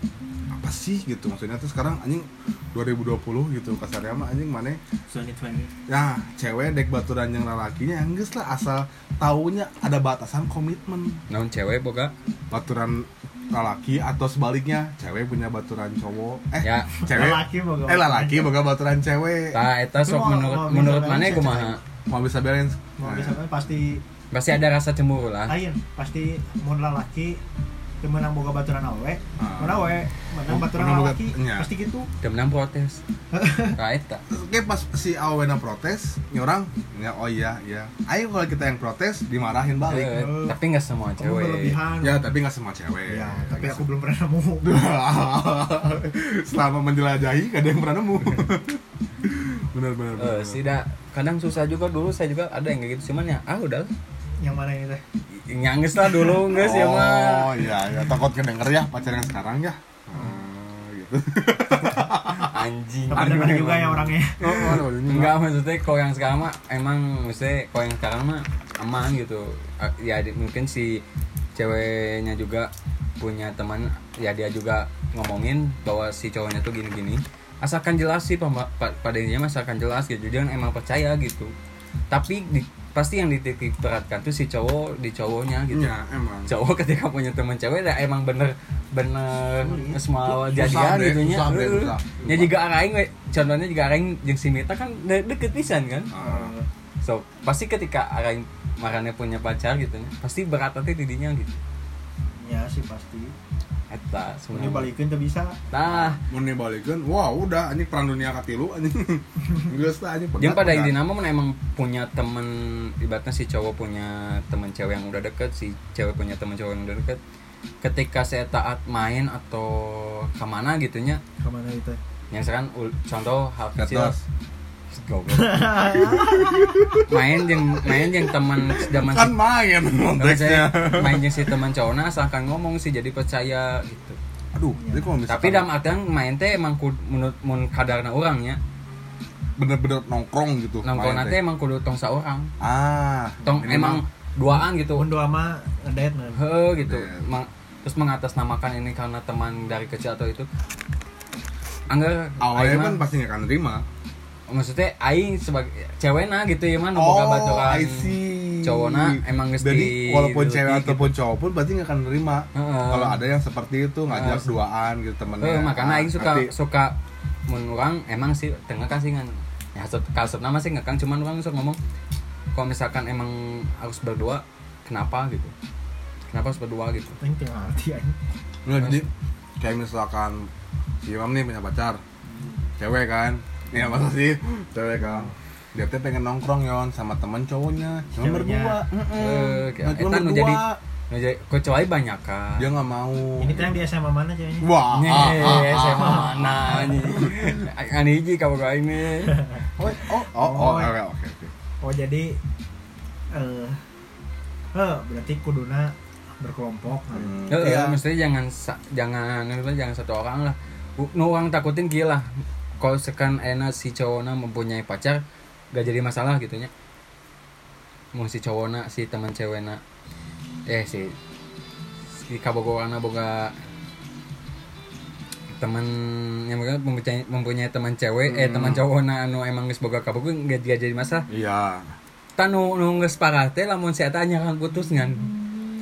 S2: apa sih gitu maksudnya tuh sekarang anjing 2020 gitu kasarnya mah anjing mana
S3: Sony Twenty.
S2: ya cewek dek baturan yang lalakinya enggak lah asal taunya ada batasan komitmen
S1: Naon cewek boga?
S2: baturan lalaki atau sebaliknya cewek punya baturan cowok eh
S1: Ya.
S2: cewek
S3: Lalaki boga Ah.
S2: eh lalaki boga baturan cewek
S1: Tah eta sok
S3: Cuma,
S1: menurut
S3: mau
S1: menurut
S3: bisa
S1: mana
S3: balance
S1: kumaha?
S2: mau bisa balance
S3: Mau
S2: Nah,
S3: bisa apa, pasti
S1: Pasti ada rasa cemburu lah.
S2: Ah.
S3: lain, pasti mun lalaki teu meunang boga baturan awe,
S2: Ah.
S3: mun awe menang
S2: Oh,
S3: baturan
S2: menang boga-
S3: lalaki
S2: nya.
S3: pasti gitu.
S1: Teu menang protes. Ka eta.
S2: Oke pas si Awena protes, nyorang, ya oh iya iya. Ayo kalau kita yang protes dimarahin balik.
S1: Eh, Tapi nggak semua
S3: Kamu
S1: cewek.
S3: berlebihan.
S2: Ya tapi nggak sama cewek.
S3: eh. Ya, tapi aku belum pernah nemu.
S2: Selama menjelajahi gak ada yang pernah nemu. bener bener.
S1: Eh,
S2: bener.
S1: sih da, kadang susah juga dulu saya juga ada yang kayak gitu cuman ya ah udah
S3: Yang mana ini teh?
S1: nyangis lah dulu enggak sih
S2: Oh
S1: mah
S2: iya ya takut kedenger ya pacar yang sekarang ya. Ah, gitu.
S1: anjing
S3: Tapi dengar juga ya orangnya.
S2: Oh, oh, ini
S1: Enggak maksudnya kalau yang sekarang mah emang maksudnya kalau yang sekarang mah aman gitu. Ah, Ya di- mungkin si ceweknya juga punya teman ya dia juga ngomongin bahwa si cowoknya tuh gini-gini. Asalkan jelas sih pemba- pa- pada intinya mah asalkan jelas gitu. Dia emang percaya gitu. Tapi di- pasti yang dititik beratkan tuh si cowok di cowoknya gitu.
S2: Ya emang.
S1: Cowok ketika punya teman cewek ya emang bener bener
S3: Sulit.
S1: semua
S2: Susah
S1: jadian
S2: deh,
S1: gitu nya.
S2: susah deh,
S1: Eh,
S2: susah.
S1: Ya juga arahin we. contohnya juga arahin jeung si Mita kan de- deket pisan kan.
S2: Ah,
S1: So, pasti ketika arahin marane punya pacar gitu nya, pasti berat hati didinya gitu.
S3: Ya sih pasti.
S1: Eta
S2: Oh.
S3: Mun
S1: sebenarnya.
S3: dibalikin teh bisa.
S1: Nah,
S2: mau dibalikin, wah udah anjing perang dunia katilu anjing. Enggak lah anjing.
S1: dia
S2: pegat,
S1: pada
S2: pegat.
S1: intinya mah emang punya temen ibaratnya si cowok punya temen cewek yang udah deket si cewek punya temen cowok yang udah deket ketika saya taat main atau kemana gitunya
S3: Ke mana itu?
S1: yang sekarang ul- contoh hal kecil
S2: Gatos.
S1: Goblok. main yang main yang teman zaman
S2: kan ya. main
S1: Tapi saya
S2: konteksnya.
S1: main jeung si teman cowoknya asalkan ngomong sih jadi percaya gitu.
S2: Aduh, jadi kalau misalkan
S1: Tapi dalam artian main teh emang kudu menurut mun kadarna orangnya,
S2: bener-bener nongkrong gitu.
S1: nongkrong
S2: main
S1: teh emang kudu tong saurang.
S2: Ah,
S1: Tong emang
S2: minimal.
S1: duaan gitu.
S3: Mun dua mah ngedate nah.
S1: Heuh gitu.
S2: Bener.
S1: Mang- terus mengatasnamakan ini karena teman dari kecil atau itu. Anggar
S2: awalnya
S1: aing
S2: kan
S1: mah-
S2: pasti nggak akan terima.
S1: maksudnya aing sebagai cewekna gitu ya man boga baturan.
S2: Oh, I see.
S1: cowokna emang geus
S2: Jadi
S1: di-
S2: walaupun
S1: diluti
S2: cewek
S1: gitu.
S2: ataupun cowok pun pasti nggak akan terima.
S1: Heeh.
S2: Kalau ada yang seperti itu ngajak
S1: Heeh.
S2: duaan gitu temennya.
S1: Eh, makanya
S2: Ah,
S1: aing suka
S2: nanti-
S1: suka mun urang emang sih tengah kan sih ngan ya hasut kasut nama sih ngekang cuman orang suka ngomong kalau misalkan emang harus berdua kenapa gitu kenapa harus berdua gitu
S3: Ini teu ngarti anjing.
S2: Nggak, jadi kayak misalkan si Imam nih punya pacar, cewek kan, ya
S1: Hmm.
S2: masa sih cewek kan. Dia tuh pengen nongkrong yon sama temen cowoknya, cuma
S3: Ceweknya.
S2: berdua.
S1: eh
S2: Nah,
S1: kayak
S2: cuma
S1: eta nu
S2: berdua.
S1: jadi nu jadi kecuali banyak kan
S2: Dia nggak mau.
S3: Ini teh yang di SMA mana ceweknya?
S2: Wah,
S1: Nih,
S2: ah, ah, ah,
S1: saya
S2: ah.
S1: mah mana nih? Ani hiji kamu kau ini.
S2: Oh, oh, oh, oh,
S3: Oh.
S2: oke, oke, oke.
S3: Oh jadi eh eh berarti kuduna berkelompok nah.
S2: Hmm.
S1: Ya,
S2: Iya.
S1: ya, maksudnya jangan sa- jangan maksudnya jangan satu orang lah. U- Nu orang takutin gila. Kalau sekan enak si cowoknya mempunyai pacar, gak jadi masalah gitu nya. Mau si cowoknya si teman ceweknya eh si si kabogorana boga teman yang mereka mempunyai, mempunyai teman cewek eh teman cowokna anu emang geus boga kabogor gak, gak jadi masalah
S2: Iya.
S1: tan nu nu geus parah teh lamun si eta nyerang putus ngan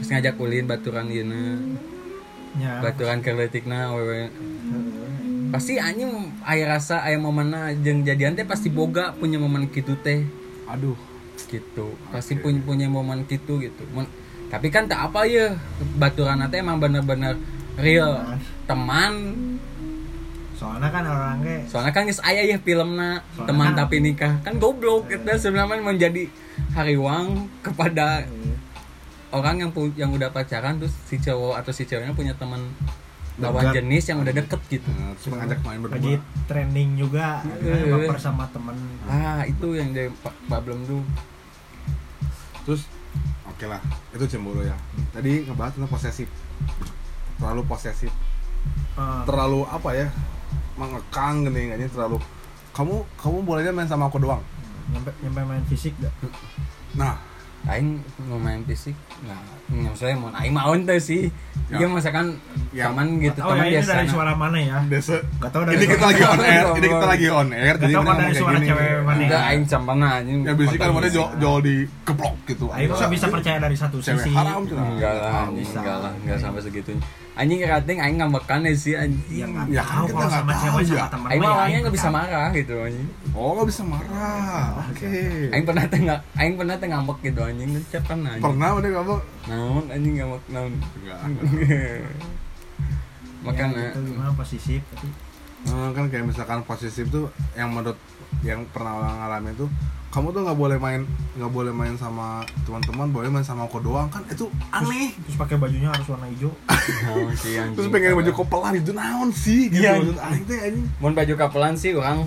S1: terus ngajak ulin baturan gini
S3: nya
S1: baturan kerletikna wewe
S3: Ya. Heeh.
S1: pasti anjing air rasa air momenna jeung jadian teh pasti boga punya momen gitu teh
S2: Aduh. eh,
S1: gitu pasti punya punya momen gitu gitu Mun- tapi kan tak apa ya baturan teh emang bener-bener real teman
S3: soalnya kan orang ge
S1: soalnya kan guys ayah ya filmna
S3: Soalnya
S1: teman
S3: kan-
S1: tapi nikah kan goblok itu sebenarnya menjadi hariwang kepada
S3: eh,
S1: orang yang pu- yang udah pacaran terus si cowok atau si ceweknya punya teman lawan
S2: Dekat.
S1: jenis yang udah deket gitu
S2: Nah, terus ngajak main
S3: lagi
S2: berdua.
S3: trending juga
S2: Iya,
S3: kan
S1: Heeh.
S3: baper sama temen
S1: ah itu yang jadi pa- problem tuh
S2: Terus oke lah, itu cemburu ya. Tadi ngebahas tentang posesif. Terlalu posesif.
S3: Eh,
S2: Terlalu apa ya? Mengekang gini kayaknya terlalu kamu kamu bolehnya main sama aku doang.
S3: nyampe nyampe main fisik gak
S2: Nah,
S1: Aing mau main fisik nah maksudnya mau Aing mau ente sih
S2: Ya.
S1: iya masakan
S2: Ya.
S1: teman gitu
S3: oh ya
S1: teman
S3: ini
S1: biasa
S3: dari suara mana ya
S2: desa
S3: gak tau dari
S2: ini kita
S3: suara-
S2: lagi on air, ini kita lagi on air.
S3: Gak
S2: mending
S3: tau kalau dari
S2: ngomong
S3: suara
S2: kayak gini.
S3: cewek mana
S1: enggak Aing campang aja gitu.
S2: Ya biasanya kan mana jauh jauh di keplok gitu.
S3: Ayo
S2: Bisa-
S3: kok bisa percaya dari satu
S2: Cewek
S3: sisi
S2: haram tuh.
S1: enggak lah anjing
S3: Bisa.
S1: enggak lah enggak sampai segitunya anjing rating Aing ngambekan ya sih
S3: yang
S1: anjing
S3: nggak
S2: Ya kan
S3: tahu
S2: kita
S3: kalau
S2: nggak
S3: sama
S2: tahu
S3: cewek
S2: ya.
S3: sama temen
S1: Aing mah
S3: mah ya
S1: orangnya
S3: Aing
S1: nggak bisa
S3: tahu.
S1: marah gitu anjing
S2: Oh nggak bisa marah. Oke.
S1: Aing pernah teh nggak- Aing pernah teh ngambek gitu anjing Ngecap kan anjing
S2: Pernah udah kamu?
S1: Naon anjing ngambek naon
S2: Enggak.
S1: Makanya
S3: Ya, gitu, gimana posisi tapi
S2: Eh, kan kayak misalkan posesif tuh yang menurut yang pernah orang ngalamin tuh kamu tuh nggak boleh main nggak boleh main sama teman-teman boleh main sama aku doang kan itu aneh
S3: terus pakai bajunya harus warna hijau
S1: naon sih anjing
S2: terus pengen baju kopelan itu naon sih gitu
S1: Iya.
S2: maksud aneh teh anjing
S1: Mun baju kapelan sih orang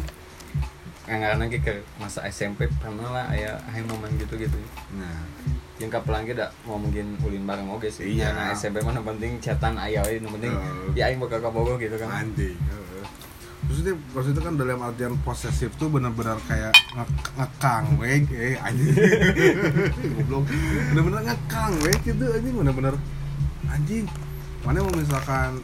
S1: Ngarana lagi ke masa SMP pernah lah aya aya momen gitu-gitu.
S2: nah
S1: Yang kapelan ge da mau mungkin ulin bareng oge sih.
S2: Iya.
S1: Nah, SMP mana penting cetan aya we nu penting
S2: Betul.
S1: ya aing bakal kabogo gitu kan.
S2: anjing heeh. terus itu maksud itu kan dalam artian posesif tuh benar-benar kayak nge- ngekang weh eh anjing goblok benar-benar ngekang weh gitu anjing benar-benar anjing mana mau misalkan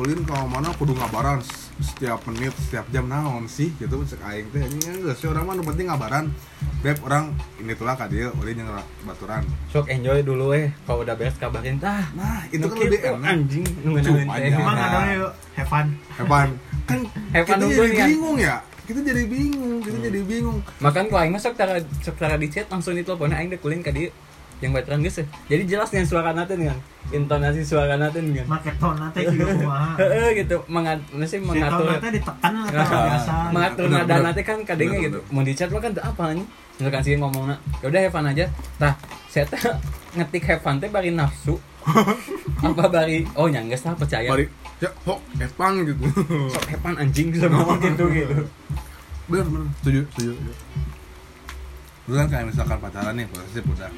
S2: ulin kalau mana kudu ngabaran s- setiap menit setiap jam naon sih gitu cek aing teh anjing enggak sih orang mah nu penting ngabaran beb orang ini tulah ka dieu ulin yang baturan
S1: Sok enjoy dulu eh kalau udah beres kabarin tah.
S2: nah itu
S1: Nu
S2: kan lebih
S1: kitu,
S2: enak
S1: anjing nu ngeunalin
S2: Cuma
S1: teh.
S2: aja.
S3: emang
S2: Nah.
S3: ada yuk have fun
S2: Evan kan
S1: Evan
S2: kita
S1: unggul
S2: jadi
S1: ya.
S2: bingung ya kita jadi bingung kita jadi bingung
S1: Makan kalau aing mah sok tara sok tara di chat langsung ditelepon aing deh kulin ka dieu yang bateran geus. eh. Jadi jelas dengan suara naten kan. Intonasi suara naten kan.
S3: make tone nanti juga kumaha
S1: Heeh gitu mengat masih
S3: si tone
S1: mengatur
S3: nanti ditekan atau
S1: Ah.
S3: biasa
S1: mengatur
S2: Bener,
S1: nada
S2: bener.
S1: nanti kan kadangnya
S2: Bener,
S1: gitu. Mau di chat mah kan teu apa nih. Misalkan sih ngomongna, ya udah Evan aja. Tah, saya teh ngetik Evan teh bari nafsu. apa bari oh nyangges lah percaya.
S2: mari ya hok Evan gitu
S1: Sok Evan anjing bisa ngomong gitu gitu.
S2: bener bener setuju setuju lu kan kayak misalkan pacaran nih posesif udah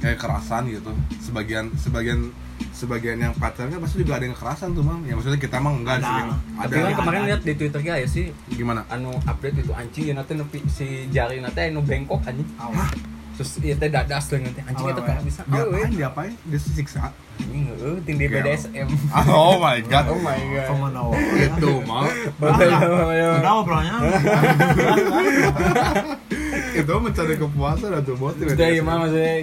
S2: kayak kerasan gitu sebagian sebagian sebagian yang pacarnya pasti juga ada yang kekerasan tuh mam ya maksudnya kita mah enggak sih
S3: Ada.
S2: ada
S1: Tapi kan kemarin
S3: ada.
S1: lihat di Twitter ge aya sih
S2: gimana
S1: anu update itu anjing ya nanti nepi si jari nanti anu bengkok anjing
S3: Awal.
S1: terus ya teh dadas deh nanti anjing
S3: Awal,
S1: itu kan
S3: awal.
S1: bisa oh
S2: diapain diapain dia siksa
S1: anjing heeh ting di
S2: Gel.
S1: BDSM
S2: oh my god
S1: oh my
S3: Kamu
S1: god
S3: nawa.
S2: itu mah
S3: Udah obrolannya.
S2: itu mencari kepuasan atau buat
S1: Terus dia emang ya, maksudnya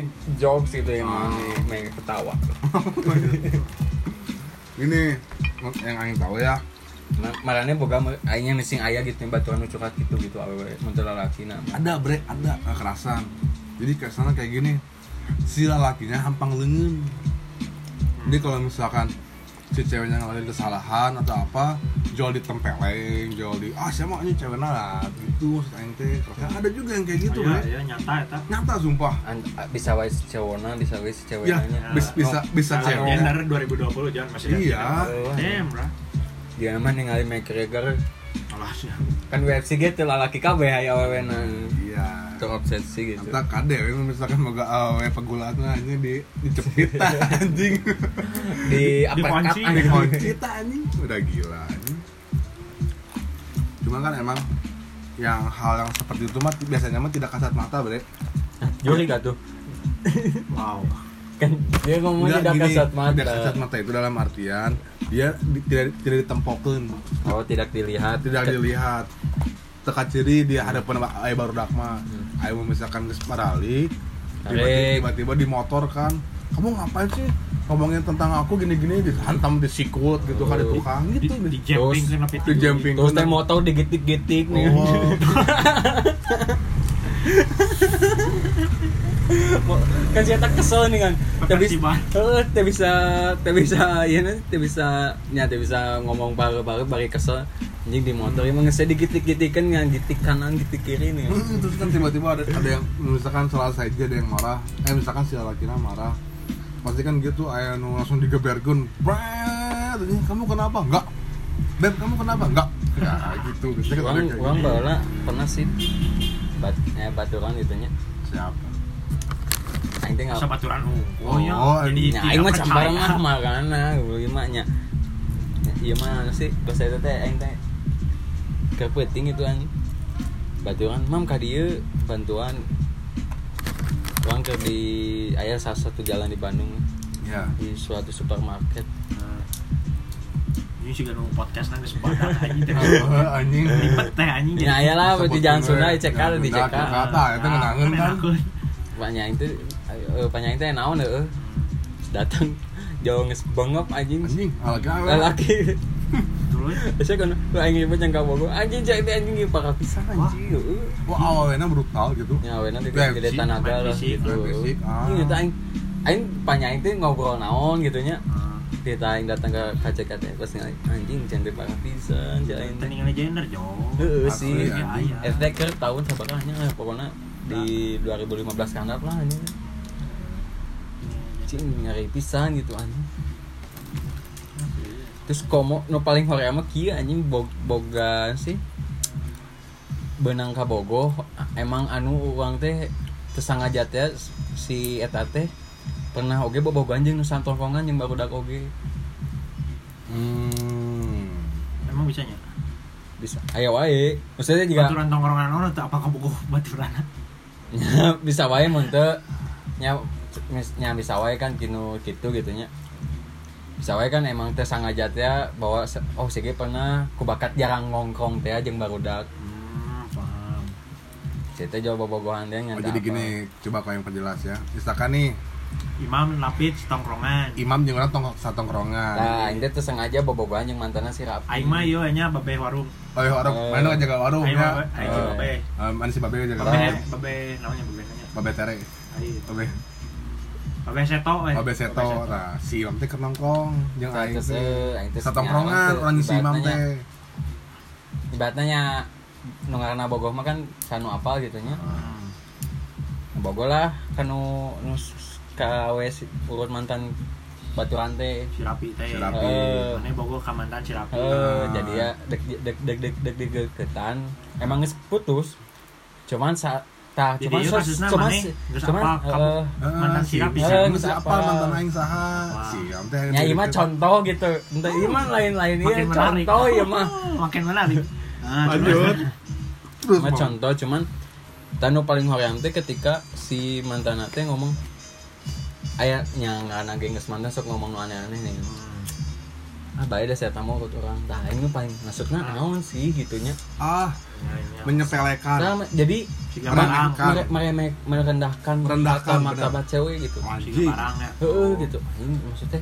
S1: jokes gitu
S2: Ah.
S1: emang main ketawa
S2: ini yang angin tahu ya
S1: Ma- marane boga me- aingnya missing ayah gitu yang batuan nu curhat gitu gitu awewe muntah lalaki na
S2: ada bre ada kekerasan jadi kekerasan kayak gini si lelakinya hampang lengan jadi kalau misalkan si ceweknya ngelakuin kesalahan atau apa jual ditempeleng jual di ah siapa ini cewek nalat gitu maksud aing teh Kekerasan. ada juga yang kayak gitu bre
S3: ya nyata eta.
S2: nyata sumpah
S1: An- bisa wae si cewona bisa wae si Ah,
S2: ya
S1: ceweknya
S2: bis- bisa bisa
S3: Nah,
S1: Kalau
S2: ceweknya
S3: 2020 jangan
S2: iya
S3: Damn, bro.
S1: oh. dia mah ningali McGregor
S3: Alah sih.
S1: kan UFC gitu lalaki kabeh aya awewe na
S2: iya
S1: terobsesi gitu
S2: Tak kade, misalkan moga "Ah, awe pegulatna anjing di dicepit tah, anjing.
S1: di apa
S3: Dikunci.
S2: Dikunci tah, anjing. Udah gila anjing. Cuma kan emang yang hal yang seperti itu mah biasanya mah tidak kasat mata bre
S1: Juli gak tuh
S3: wow
S1: kan dia ngomongnya tidak
S2: Enggak, gini,
S1: kasat
S2: tidak
S1: mata
S2: kasat mata itu dalam artian dia di- tidak tidak ditempokeun
S1: oh tidak dilihat
S2: tidak
S1: Ke-
S2: dilihat teka ciri di hadapan ai eh, baru dakma ai mau misalkan geus marali
S1: Hmm. Tarik.
S2: tiba-tiba tiba di motor kan kamu ngapain sih ngomongin tentang aku gini-gini dihantam disikut gitu kan di
S1: Oh,
S2: tukang
S3: di,
S2: gitu
S3: di jumping
S1: Terus,
S3: kan apa itu?
S2: di jumping.
S1: terus teh motor digitik-gitik nih
S2: Oh,
S1: Mo- kan saya tak kesel nih kan tapi
S3: Makasih, Bang.
S1: heeh teh bisa teh bisa ya nanti teh bisa nya teh bisa ngomong bare bare bari kesel anjing di motor emang saya digitik gitikan kan gitik kanan gitik kiri nih kan.
S2: terus kan tiba-tiba ada ada yang misalkan salah saya aja ada yang marah eh misalkan si laki marah pasti kan gitu ayah nu langsung digebergun Bret, ini, kamu kenapa enggak Beb, kamu kenapa enggak ya gitu Biasanya kan ada
S1: orang
S2: kayak
S1: orang
S2: gitu.
S1: bawa pernah sih bat eh baturan Ah, gitu nya
S2: siapa
S1: aing teh nggak
S3: Masa baturan hukum
S2: Oh,
S3: ya. Jadi
S1: Nya, aing
S3: tidak
S1: mah
S3: percaya. Nah,
S1: campar mah makana gue mah nya Ya, iya mah sih pas itu teh aing teh kepeting itu anjing baturan mam ka dieu bantuan uang ke di ayah salah satu jalan di Bandung
S2: ya
S1: di suatu supermarket
S3: Nah. Ini juga nunggu podcast nanti sebatas anjing teh.
S2: Eh, anjing
S3: Lipet teh anjing jadi. Nah,
S1: ya ayah lah di jalan Sunda Ah. di
S2: dicekal
S1: cekal di cekal
S2: kata itu ngenangeun kan
S1: banyak itu eh, banyak itu yang naon eh datang jauh nges bengep anjing
S2: anjing alga
S1: lelaki
S3: Terus
S1: Biasanya kan lu aing ribet yang kamu gue anjing cai teh anjing ieu parah pisan anjing. eh. heueuh.
S2: wah awalnya brutal gitu
S1: Ya we nanti
S2: Main
S1: gede
S2: fisik,
S3: main
S1: tanaga lah
S3: fisik,
S1: gitu.
S2: main fisik, ah.
S1: Ini eta aing aing panya aing teh ngobrol naon gitu nya.
S3: Ah.
S1: Kita aing datang ke KCKT pas ningali, anjing cantik parah pisan cai
S3: Teh
S1: teh.
S3: ningali Nah, gender jo.
S1: Heueuh sih.
S2: Asli, anjing.
S1: Eta keur tahun sabarahnya lah pokona di 2015 kandap lah anjing.
S3: Iya,
S1: Cing nyari pisan gitu anjing. terus komo no paling hore mah kieu anjing bog- boga sih benang kabogoh emang anu uang teh tersangaja teh si eta teh pernah oge bobogoh anjing nu santolkongan yang baru dak oge
S2: hmm
S3: Emang bisanya?
S1: bisa aya wae maksudnya
S2: Iya.
S1: juga
S3: Baturan tongkrongan orang atau apa kamu baturan?
S1: bisa wae mun teu nya nya bisa wae kan kinu kitu gitu nya bisa wae kan emang teh sangaja teh bahwa se- oh sige pernah kubakat jarang ngongkrong teh jeung barudak
S3: Hmm, paham.
S1: Cerita jauh bobogohan dia
S2: oh,
S1: nyata Ya apa.
S2: jadi gini coba kau yang perjelas ya misalkan nih
S3: Imam lapid tongkrongan.
S2: imam jeung urang tong Iya. satongkrongan
S1: Nah, ini tuh sengaja bobogohan yang mantannya si Rapi.
S3: Aing mah yo nya babe warung.
S2: oh iya orang
S1: Eh.
S2: main dong jaga warung
S3: Aing
S2: ya
S3: mah babe- aing mah babe.
S2: Eh, mana si babe jaga
S3: Babe,
S1: Babe.
S2: warung
S3: babe namanya babe nanya.
S2: babe tere
S3: Aing.
S2: babe
S3: Babe seto eh.
S2: babe seto nah si imam teh kenongkong jeung
S1: Nah,
S2: aing
S1: itu
S2: teh
S1: se- aing teh senyawa
S2: satongkrongan
S1: teh.
S2: orang si imam
S1: Ibaratnya-
S2: teh
S1: Ibaratnya nya nu ngaranna bogoh mah kan kanu apal gitu nya.
S3: Hmm.
S1: Bogoh lah kanu nu s- kawe si- urut mantan baturan teh.
S3: Si Rapi
S2: Si
S3: teh. Oh.
S2: Rapi.
S1: Eh.
S3: Mana bogo ka mantan si Rapi.
S2: Oh.
S1: Eh, jadi ya deg deg deg deg deg deg degetan. Emang geus putus. Cuman saat tah
S3: Jadi
S1: cuman
S3: ieu
S1: sos-
S3: kasusna
S1: cuman
S3: maneh, geus
S1: cuman
S3: apal kamu.
S1: eh,
S3: Mantan si Rapi,
S1: Eh,
S2: bisa
S1: bisa
S2: apa
S1: apa.
S2: mantan aing saha
S3: Wah.
S2: si Imam teh
S1: nya ieu mah contoh gitu. Entah ieu mah lain-lain ieu
S3: Makin menarik.
S1: contoh ieu mah.
S3: Makin menarik. Ah, Nah,
S2: lanjut
S3: terus.
S2: terus
S1: mah
S2: Mang.
S1: contoh cuman tanu paling hoream teh ketika si mantan teh ngomong aya nyang anak geus mantan sok ngomong nu aneh-aneh nih ah bae dah saya tamu ke orang tah ini paling maksudnya naon sih gitunya
S2: ah menyepelekan
S1: nah, jadi
S3: Hmm. Siga
S2: Keren,
S3: barang.
S2: kan?
S1: mere- mere- merendahkan
S2: Merendahkan,
S1: martabat cewek gitu
S3: Hmm, Siga
S2: anjing
S3: barang ya.
S1: heeh gitu anjing maksudnya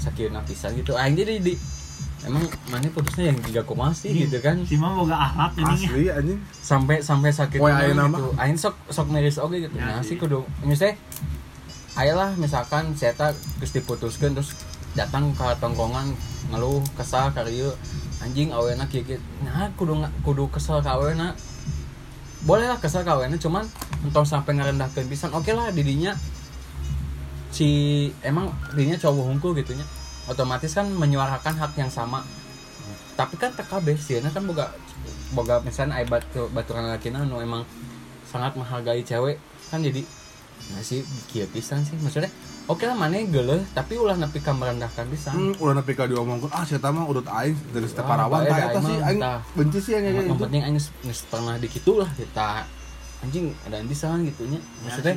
S1: sakit napisan gitu anjing jadi di emang mana putusnya yang tiga koma sih
S2: Iya.
S1: gitu kan
S3: Si Imam boga akhlak ini.
S2: asli anjing
S1: sampai sampai sakit
S2: Poe
S1: tenang
S2: ayeuna
S1: gitu. Aing sok sok miris oge gitu.
S3: Ya,
S1: Nah, sih
S3: sih.
S1: kudu misalnya ayolah misalkan saya tak geus diputuskeun terus datang ke tongkongan ngeluh kesal ka ieu anjing awena kieu kieu. Nah, kudu nga- kudu kesel ka awena. Boleh lah kesel ka awena cuman entong sampai ngarendahkeun pisan. Oke lah didinya si emang dirinya cowok hungkul gitu nya. Otomatis kan menyuarakan hak yang sama. Tapi kan TKB sih, kan boga boga misalnya ai batu baturan laki nu emang sangat menghargai cewek kan jadi masih kieu pisan sih maksudnya oke lah mana geuleuh tapi ulah nepi ka merendahkan pisan
S2: Hmm, udah nepi ka diomongkeun ah sia tah mah urut aing dari
S1: Wah,
S2: Parawan
S1: Oh, bae
S2: tah eta
S1: da
S2: sih
S1: aing mah,
S2: aing
S1: tah.
S2: benci sih yang kayak
S1: yang
S2: gitu.
S1: penting aing geus- geus pernah di kitu lah kita anjing ada pisan gitunya
S2: Iya
S1: maksudnya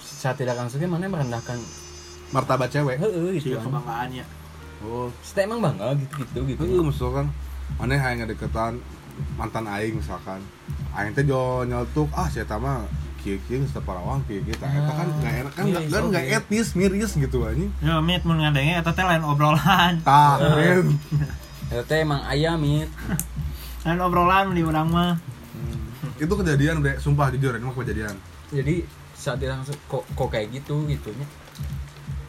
S1: saat tidak langsungnya mana merendahkan
S2: Martabat cewek.
S1: heeh gitu
S3: Sia
S1: anjing.
S2: Iya,
S3: kebanggaannya
S2: Oh,
S1: Maksudnya emang bangga gitu gitu gitu
S2: heeh misalkan mana hayang ngadeketan mantan aing misalkan. Aing teh jo nyeltuk ah sia tah mah kieu-kieu geus teu Parawan kieu-kieu tah eta kan
S1: Ah,
S2: enggak enak kan
S1: miris,
S2: nggak- kan enggak
S1: oke.
S2: etis miris gitu anjing.
S3: ya mit mun ngandenge eta teh lain obrolan
S2: Tah,
S1: Ah.
S2: men.
S1: Eta teh emang ayam it
S3: lain obrolan di urang mah
S2: Itu kejadian, Bre. Sumpah jujur, ini mah kejadian.
S1: jadi saat dia langsung kok kok kayak gitu gitunya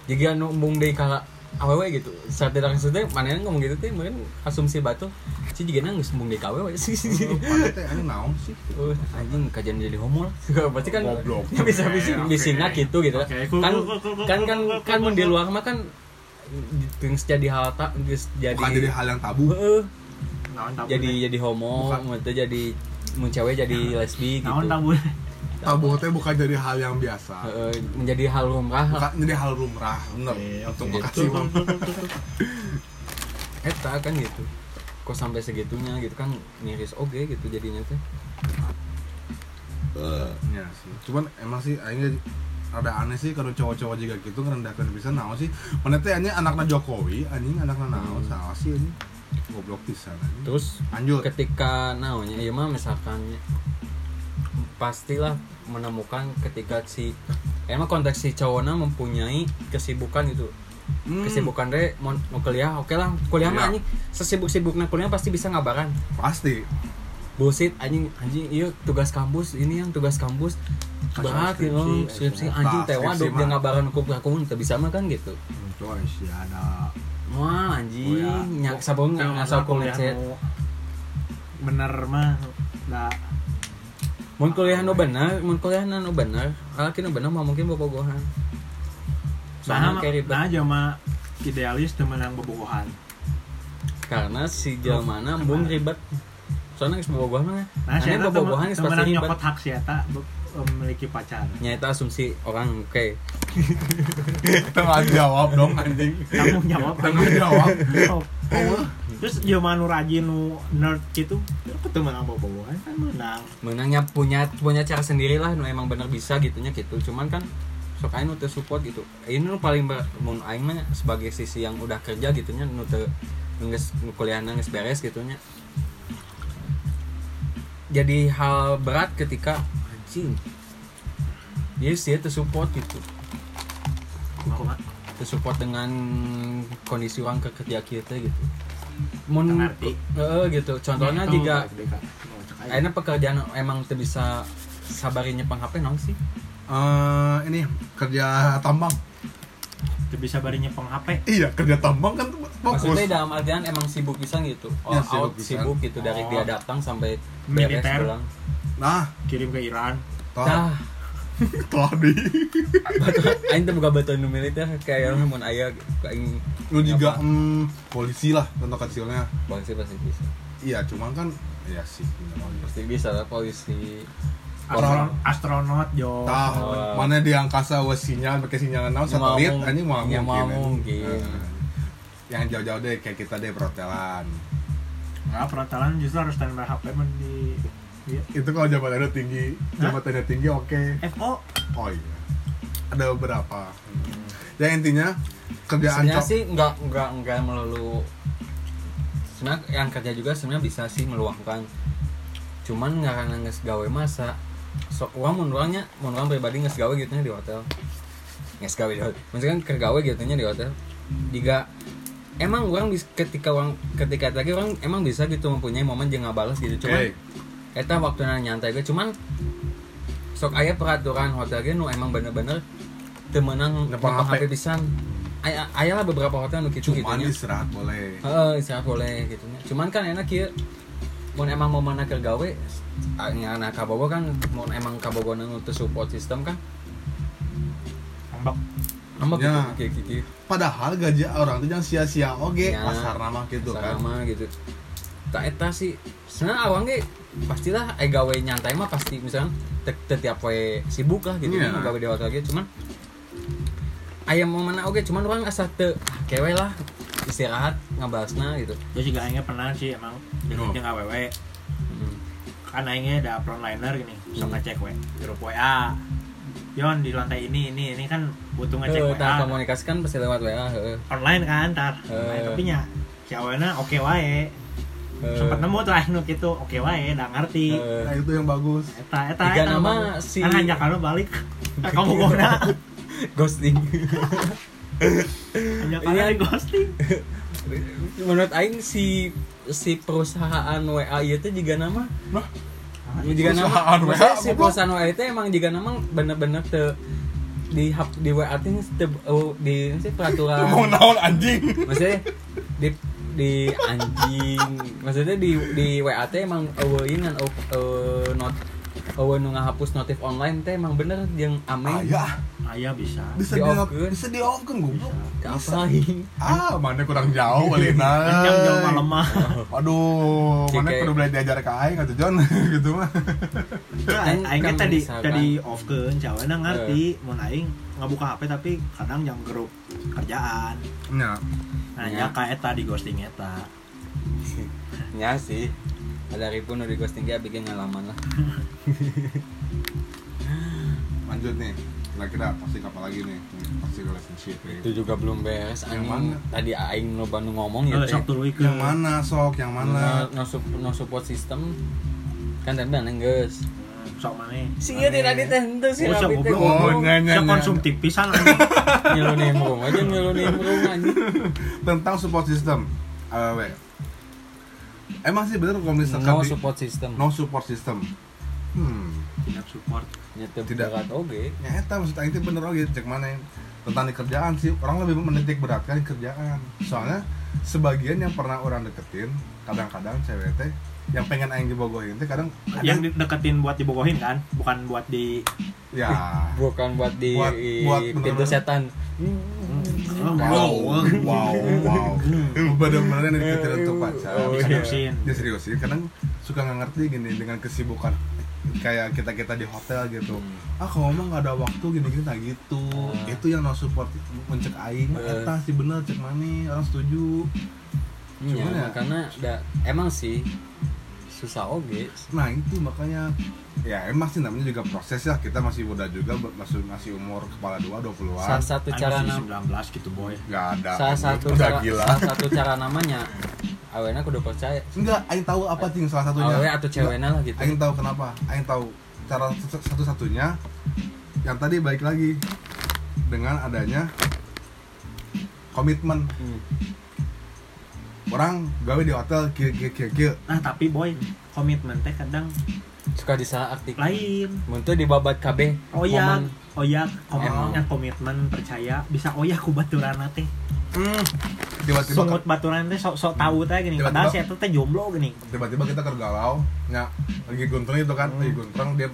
S1: jadi anu embung deui ka awewe gitu saat dia langsung teh mana yang ngomong gitu teh mungkin asumsi batu si jigana geus embung deui ka awewe sih
S2: Aduh, Padahal teh anjing naon sih?
S1: Oh, anjing kajian jadi homo lah. Pasti kan
S2: Goblok.
S1: ya bisa bisa
S2: Oke,
S1: bisingnya
S3: oke.
S1: gitu gitu.
S3: Oke, cool,
S1: Kan
S3: cool, cool, cool,
S1: kan kan
S3: cool, cool,
S1: kan
S3: cool,
S1: mun di
S3: cool.
S1: luar mah kan geus jadi hal tak geus jadi
S2: Bukan jadi hal yang tabu.
S1: Heeh,
S3: naon tabu
S1: jadi
S3: deh.
S1: jadi homo,
S2: Bukan.
S1: mun teu jadi mun cewek jadi lesbi gitu.
S3: naon tabu deh.
S2: Tabu teh bukan jadi hal yang biasa.
S1: Heeh, Eh, menjadi hal lumrah lah.
S2: Bukan jadi hal lumrah, bener.
S3: Oke, oke.
S2: Untuk
S1: Gitu.
S2: makasih, Bang.
S1: eta kan gitu kok sampai segitunya gitu kan miris oge gitu jadinya teh
S2: Ya sih. Cuman emang sih akhirnya ada aneh sih kalau cowok-cowok juga gitu ngerendahkan bisa naon sih. Mana teh anjing anakna Jokowi, anjing anakna naon
S1: Hmm.
S2: salah sih anjing. Goblok pisan anjing.
S1: terus
S2: Lanjut.
S1: ketika naonnya ya mah misalkan pastilah menemukan ketika si emang konteks si cowoknya mempunyai kesibukan gitu
S2: Hmm,
S1: kesibukan deh mau, mau kuliah oke lah kuliah mah
S2: Iya.
S1: anjing sesibuk sibuknya kuliah pasti bisa ngabaran
S2: pasti.
S1: bullshit anjing anjing iya tugas kampus ini yang tugas kampus
S2: Kasih
S1: berat
S2: skripsi,
S1: gitu skripsi
S2: SMK,
S1: anjing tewa
S2: skripsi
S1: dok
S2: mah.
S1: dia ngabaran ku aku teu bisa mah kan gitu
S2: Coy, sih ada
S1: Wah anjing,
S2: Oh, ya.
S1: nyak sabun
S3: Kalau
S1: ngasal
S3: masalah
S1: ku
S3: kuliah
S1: ngechat.
S3: nu anu. bener mah da
S1: Mun kuliah nu bener, mun kuliah nu bener, laki nu bener mah mungkin bobogohan.
S3: nah
S1: Soalnya kayak ribet.
S3: nah jelema idealis temen yang bobogohan
S1: Karena si jelmana embung ribet. Soalnya geus bobogohan mah. Aneh
S3: nah siapa
S1: bobogohan
S3: temen
S1: geus pasti
S3: temen yang
S1: ribet.
S3: nyokot hak siapa e, memiliki pacar
S1: Nyata asumsi orang oke.
S2: tengah jawab dong anjing.
S3: kamu jawab
S2: Tengah jawab.
S3: Oh, oh. terus jaman nu rajin nu nerd gitu ya ketemu sama bobogohan kan menang
S1: Menangnya punya punya cara sendiri lah nu emang bener bisa gitunya gitu. Cuman kan sok aing nu teu support gitu. Ini nu paling ber- mun aing mah sebagai sisi yang udah kerja gitunya nu teu nu geus nu kuliahna geus beres gitunya. jadi hal berat ketika anjing dia sih tersupport gitu
S3: Kumaha?
S1: tersupport dengan kondisi orang kerja kita gitu mun
S3: Ngerti. Oh,
S1: Heeh, gitu contohnya
S3: Tuh,
S1: jika
S3: gede, Kak. Mau cek aja.
S1: enak pekerjaan emang tuh bisa sabarin nyepang HP nong sih
S2: Eh, ini kerja tambang.
S3: Tuh gitu. bisa bari nyepeng HP
S2: Iya, kerja tambang kan fokus.
S1: maksudnya dalam artian emang sibuk bisa gitu all
S2: Ya, sibuk
S1: out
S2: pisan.
S1: sibuk gitu dari
S3: Oh.
S1: dia datang sampai beres
S3: Militer.
S1: pulang
S2: Nah,
S3: kirim ke Iran
S2: tah
S1: nah
S2: tah di.
S1: aing teh buka batu nu militer kayak mun aya aing
S2: Lu juga
S1: apa,
S2: mm, polisi lah contoh kecilnya.
S1: polisi pasti bisa
S2: Iya, cuman kan ya sih. bener.
S1: pasti bisa lah polisi
S3: Astron- astronaut jo
S2: Tah,
S1: Oh.
S2: mana di angkasa we sinyal pakai sinyal naon
S1: Ya,
S2: satelit
S1: mau-
S2: anjing mah
S1: ya,
S2: mungkin.
S1: mau
S2: anjing.
S1: mungkin.
S2: Eh, Yang jauh-jauh deh kayak kita deh perhotelan.
S3: nah perhotelan justru harus standby HP men di iya. di
S2: Itu kalau jabatannya tinggi,
S3: Hah? Eh.
S2: jabatannya tinggi oke.
S3: FO
S2: Oh iya. Ada beberapa. Ya intinya kerjaan
S1: sebenarnya
S2: cowok-
S1: sih nggak nggak nggak melulu sebenarnya yang kerja juga sebenarnya bisa sih meluangkan cuman karena nggak gawe masa sok uang menurangnya menurang pribadi nggak gawe gitunya di hotel nggak gawe di hotel maksudnya ke gawe gitunya di hotel jika emang orang bis- ketika orang ketika lagi orang emang bisa gitu mempunyai momen jeung balas gitu
S2: Oke.
S1: cuman Eta waktu nyantai gue cuman sok aya peraturan hotel ge nu emang bener-bener temenang
S2: Nepang
S1: nepang HP
S2: HP.
S1: pisan. Aya aya lah beberapa hotel nu gitu gitu
S2: cuman
S1: nya.
S2: istirahat boleh.
S1: Heeh, istirahat boleh gitu nya. Cuman kan enak kieu mun emang mau mana ke gawe nyana ka bogo kan mun emang ka bogo nu teu support system kan
S3: ambak
S1: ambek
S2: Ya.
S1: gitu kieu
S2: Padahal gaji orang itu jangan sia-sia oke
S1: Ya.
S2: pasar nama gitu kan.
S1: sama gitu. Tak eta sih. Sebenarnya awang ge pastilah eh gawe nyantai mah pasti misalnya te- te- tiap we sibuk lah gitu
S2: Iya.
S1: yeah. gawe dewasa lagi cuman ayam mau mana oke cuman orang asa te ah, kewe lah istirahat ngabasna gitu
S3: ya juga aingnya pernah sih emang
S2: Oh.
S3: dengan jeung aww
S1: Hmm.
S3: kan aingnya ada frontliner gini sok ngecek we grup WA Yon di lantai ini ini ini kan butuh ngecek
S1: Eh,
S3: WA
S1: tah komunikasi kan pasti lewat WA heeh.
S3: online kan tar online
S1: Eh.
S3: tapi nya si awena oke wae
S1: Eh,
S3: sempet nemu terakhir nu gitu oke wae udah ngerti
S1: eh,
S2: nah itu yang bagus
S3: eta eta
S1: Tiga
S3: eta
S1: nama
S3: bagus.
S1: si-
S3: kan hanya kalau balik Eh, kamu goda
S1: ghosting Iya.
S3: hanya kalau di ghosting
S1: menurut aing si si perusahaan WA itu juga nama
S2: Nah,
S1: jika nama
S2: Perusahaan WA,
S1: maksudnya si
S2: goblok.
S1: perusahaan WA itu emang jika nama bener-bener te di hap di WA itu te, oh, di apa sih peraturan
S2: mau naon anjing
S1: maksudnya di di anjing maksudnya di di WA teh emang eueuin dan not eueuh nu ngahapus notif online teh emang bener jeung
S2: ah
S1: ame
S2: ya
S3: ayah iya, bisa
S2: bisa
S1: Di
S2: di
S1: off-keun.
S2: bisa di off kan goblok
S1: Ke apa aing
S2: ah mana kurang jauh Alina
S3: panjang jauh Kan malam mah
S2: aduh
S1: Cik,
S2: mana
S1: kayak-
S2: kudu belajar diajar ke aing atuh John gitu mah
S1: Aing
S3: aingnya
S1: kan
S3: Nah, tadi
S1: misalkan-
S3: tadi off ke cawena ngerti mun aing ngabuka HP tapi kadang yang grup kerjaan
S2: nya
S3: nah
S1: Iya.
S3: ya ka eta di ghosting eta
S1: nya Ya sih ada ribu nu di ghosting ge bikin ngalaman lah
S2: lanjut nih kira-kira pasti apa lagi nih pasti relationship ya. nih
S1: itu juga belum beres
S2: Yang
S1: anjing
S2: mana?
S1: tadi aing loba nu ngomong ya
S3: Eh,
S1: teh
S3: sok tuluy ke
S2: yang mana sok yang mana
S1: no, no, sup- no support system kan tadi aneh guys
S3: Hmm, sok mana
S1: sih
S2: Aneh.
S1: tadi teh henteu sih
S3: Oh, sok
S1: rapi teh
S3: goblok.
S1: ngomong
S2: Oh, Nanya,
S3: sok
S2: nanya.
S3: konsumtif pisan anjing.
S1: nyelu nimbrung aja nyelu nimbrung anjing
S2: tentang support system AWW emang sih bener kalau misalkan
S1: no
S2: di-
S1: support system
S2: no support system hmm
S3: Yang support
S1: nyetep
S2: Tidak.
S1: berat oge
S2: ya eta maksud aing teh bener oge cek mana tentang di kerjaan sih orang lebih menitik beratkan di kerjaan soalnya sebagian yang pernah orang deketin kadang-kadang cewek teh yang pengen aing dibogohin teh kadang ada-
S1: Ya.
S3: yang deketin buat dibogohin kan bukan buat di
S2: ya
S1: bukan buat di
S2: Buat- buat Hmm.
S1: pintu
S2: bener-bener.
S1: setan
S2: wow wow wow bener-bener yang deketin untuk pacar
S1: Oh, iya.
S3: seriusin
S2: ya serius sih kadang suka nggak ngerti gini dengan kesibukan kayak kita kita di hotel gitu
S1: Hmm.
S2: ah kamu mah nggak ada waktu gini gini nah gitu
S1: Ah.
S2: itu yang no support mencek aing mah
S1: Eh.
S2: eta sih bener cek mana orang setuju
S1: Iya,
S2: Cuman ya-
S1: makanya da, emang sih susah oge
S2: nah itu makanya ya emang sih namanya juga proses ya kita masih muda juga be- masih masih umur kepala dua dua
S1: salah
S2: puluhan
S1: satu
S3: Kan
S1: cara
S3: masih
S1: nam-
S3: 19 gitu boy
S2: nggak ada
S1: salah satu
S2: udah
S1: cara,
S2: gila
S1: salah satu cara namanya awena kudu percaya
S2: enggak aing tahu apa sih salah satunya
S1: awe Oh, iya, atau ceweknya lah gitu
S2: Aing tahu kenapa, Aing tahu cara satu-satunya yang tadi baik lagi dengan adanya komitmen
S1: Hmm.
S2: orang gawe di hotel kieu kieu kieu kieu
S3: nah tapi boy komitmen teh kadang
S1: suka disalah artik
S3: lain Oh iya.
S1: muntul di babat KB
S3: oyak
S1: momen.
S3: oyak komitmen
S1: Emang.
S3: yang komitmen percaya bisa oyak ku baturan teh
S2: Hmm, tiba-tiba
S3: sungut baturan teh sok sok tahu teh gini
S2: Tiba-tiba-
S3: padahal si eta teh jomblo gini
S2: tiba-tiba kita tergalau nya lagi guntreng itu kan
S1: Hmm.
S2: lagi guntreng dia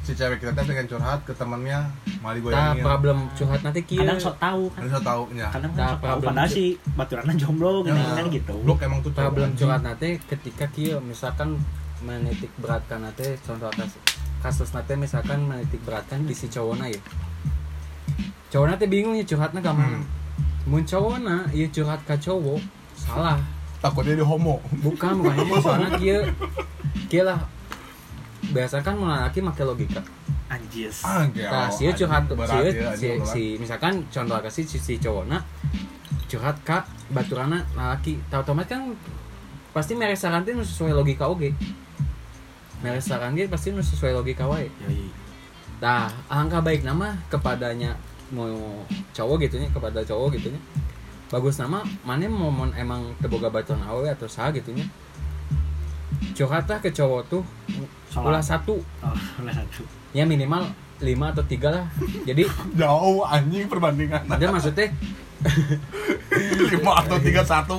S2: si cewek kita teh pengen curhat ke temannya mali
S1: nah
S2: goyangin
S1: problem curhat nanti kia
S3: kadang sok tahu kan
S2: harus tahu ya. nya
S3: kadang
S1: Nah,
S3: kan sok tahu
S1: problem
S3: padahal
S1: cu-
S3: si baturannya jomblo gini
S2: Nah,
S3: kan gitu
S2: blok emang tuh cowok,
S1: problem
S2: anjing.
S1: curhat nanti ketika kia misalkan menitik beratkan nanti contoh atas kasus nanti misalkan menitik beratkan di si cowona ya cowona teh bingung ya curhatnya ke mana
S2: Hmm.
S1: mun cowona ya curhat ke cowok salah
S2: takutnya dia homo
S1: bukan bukan homo soalnya kia kia lah biasa kan mun laki make logika
S3: anjis
S2: ah gila,
S1: Nah, si curhat si,
S2: anjing, berat ya,
S1: si,
S2: anjing, berat.
S1: si misalkan contoh ke si si, si cowokna curhat ka baturana lalaki tau tomat kan pasti mere saran teh nu sesuai logika oge mere saran ge pasti nu sesuai logika wae
S3: Yoi.
S1: Nah, angka baik nama kepadanya mau cowok gitunya kepada cowok gitunya. Bagus nama mana momen emang teboga bacaan awe atau sah gitunya. Curhat lah ke cowok tuh
S3: Salah.
S1: ulah satu
S3: Oh, salah satu
S1: ya minimal lima atau tiga lah. Jadi
S2: jauh anjing perbandingan
S1: ada maksudnya
S2: lima atau tiga satu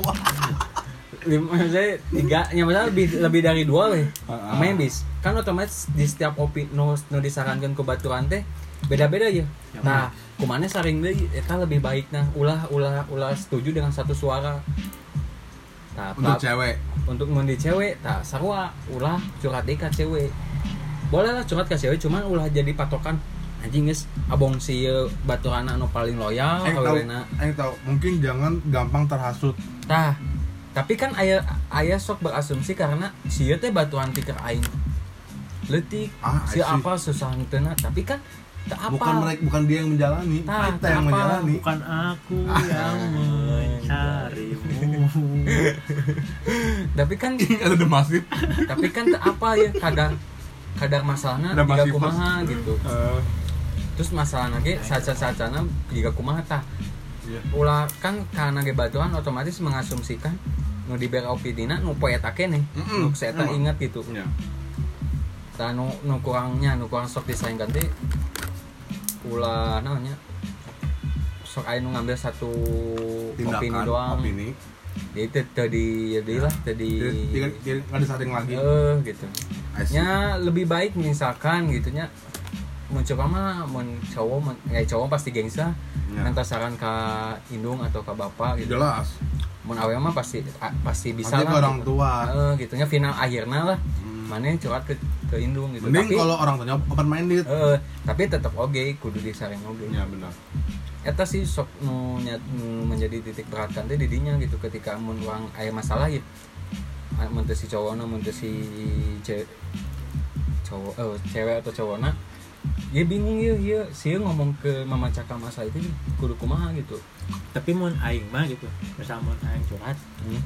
S1: lima maksudnya tiga ya maksudnya lebih lebih dari dua lah.
S2: Ah.
S1: Main bis kan otomatis di setiap opi nu nu disarankan ke baturan teh beda-beda ya.
S3: Ya,
S1: Nah, kumane saring deui eta lebih baik nah ulah ulah ulah setuju dengan satu suara. Tah,
S2: untuk
S1: pap-
S2: cewek
S1: untuk mandi cewek tak sarua ulah curhat deh ke cewek boleh lah curhat ke cewek cuman ulah jadi patokan anjing geus abong si baturana anu paling loyal
S2: Aing tahu,
S1: kawinana
S2: Aing tahu. Mungkin jangan gampang terhasut.
S1: tah Nah, tapi kan ayah ayah sok berasumsi karena si ieu teh batuan pikir aing letik
S2: Ah,
S1: si
S2: I see.
S1: apa susah hentena tapi kan tak apa
S2: Bukan mereka, bukan dia yang menjalani,
S1: Nah,
S2: kita yang
S1: apa?
S2: menjalani.
S3: bukan aku yang mencarimu
S1: tapi kan
S2: Ada the masif.
S1: tapi kan tak apa ya kadar kadar masalahnya
S2: Ada
S1: tidak
S2: masih pos.
S1: kumaha gitu terus masalah lagi saca-sacana jika kumaha tah
S2: Iya.
S1: ulah kan karena ge batuan otomatis mengasumsikan nu di backup dina nu poe eta keneh
S2: Mm-mm.
S1: nu seeta
S2: Emang.
S1: ingat gitu
S4: Ya.
S1: tah nu nu kurangnya nu kurang sok disaingkan teh ulah naonnya sok aya nu ngambil satu opini doang
S2: opini.
S1: jadi teh tadi jadi lah tadi
S2: Jadi jadi- jadi nggak ada saring lagi.
S1: eh gitu
S2: I see.
S1: nya lebih baik misalkan gitunya mencoba mah mun cowok mun, ya cowok pasti gengsa
S2: Ya.
S1: nanti saran ke indung atau ke bapak gitu
S2: Jelas.
S1: mun awe mah pasti a- pasti bisa
S2: Pasti ke orang tua.
S1: Heeh, gitunya final akhirnya lah
S2: Hmm.
S1: mana curhat ke ke indung gitu
S2: Mending
S1: tapi
S2: kalau orang tanya open minded.
S1: eh, tapi tetap oke kudu disaring oge
S2: Ya benar.
S1: eta sih sok nu nya- nu menjadi titik berat kan teh didinya gitu ketika mun orang aya masalah ya Ah, mun teu si cowokna mun teu si ce- cowok eh, cewek atau cowokna ya bingung ya ya sih ngomong ke mama caka masa itu kudu kumaha gitu
S3: tapi mun aing mah gitu misal mun aing curhat
S1: Hmm.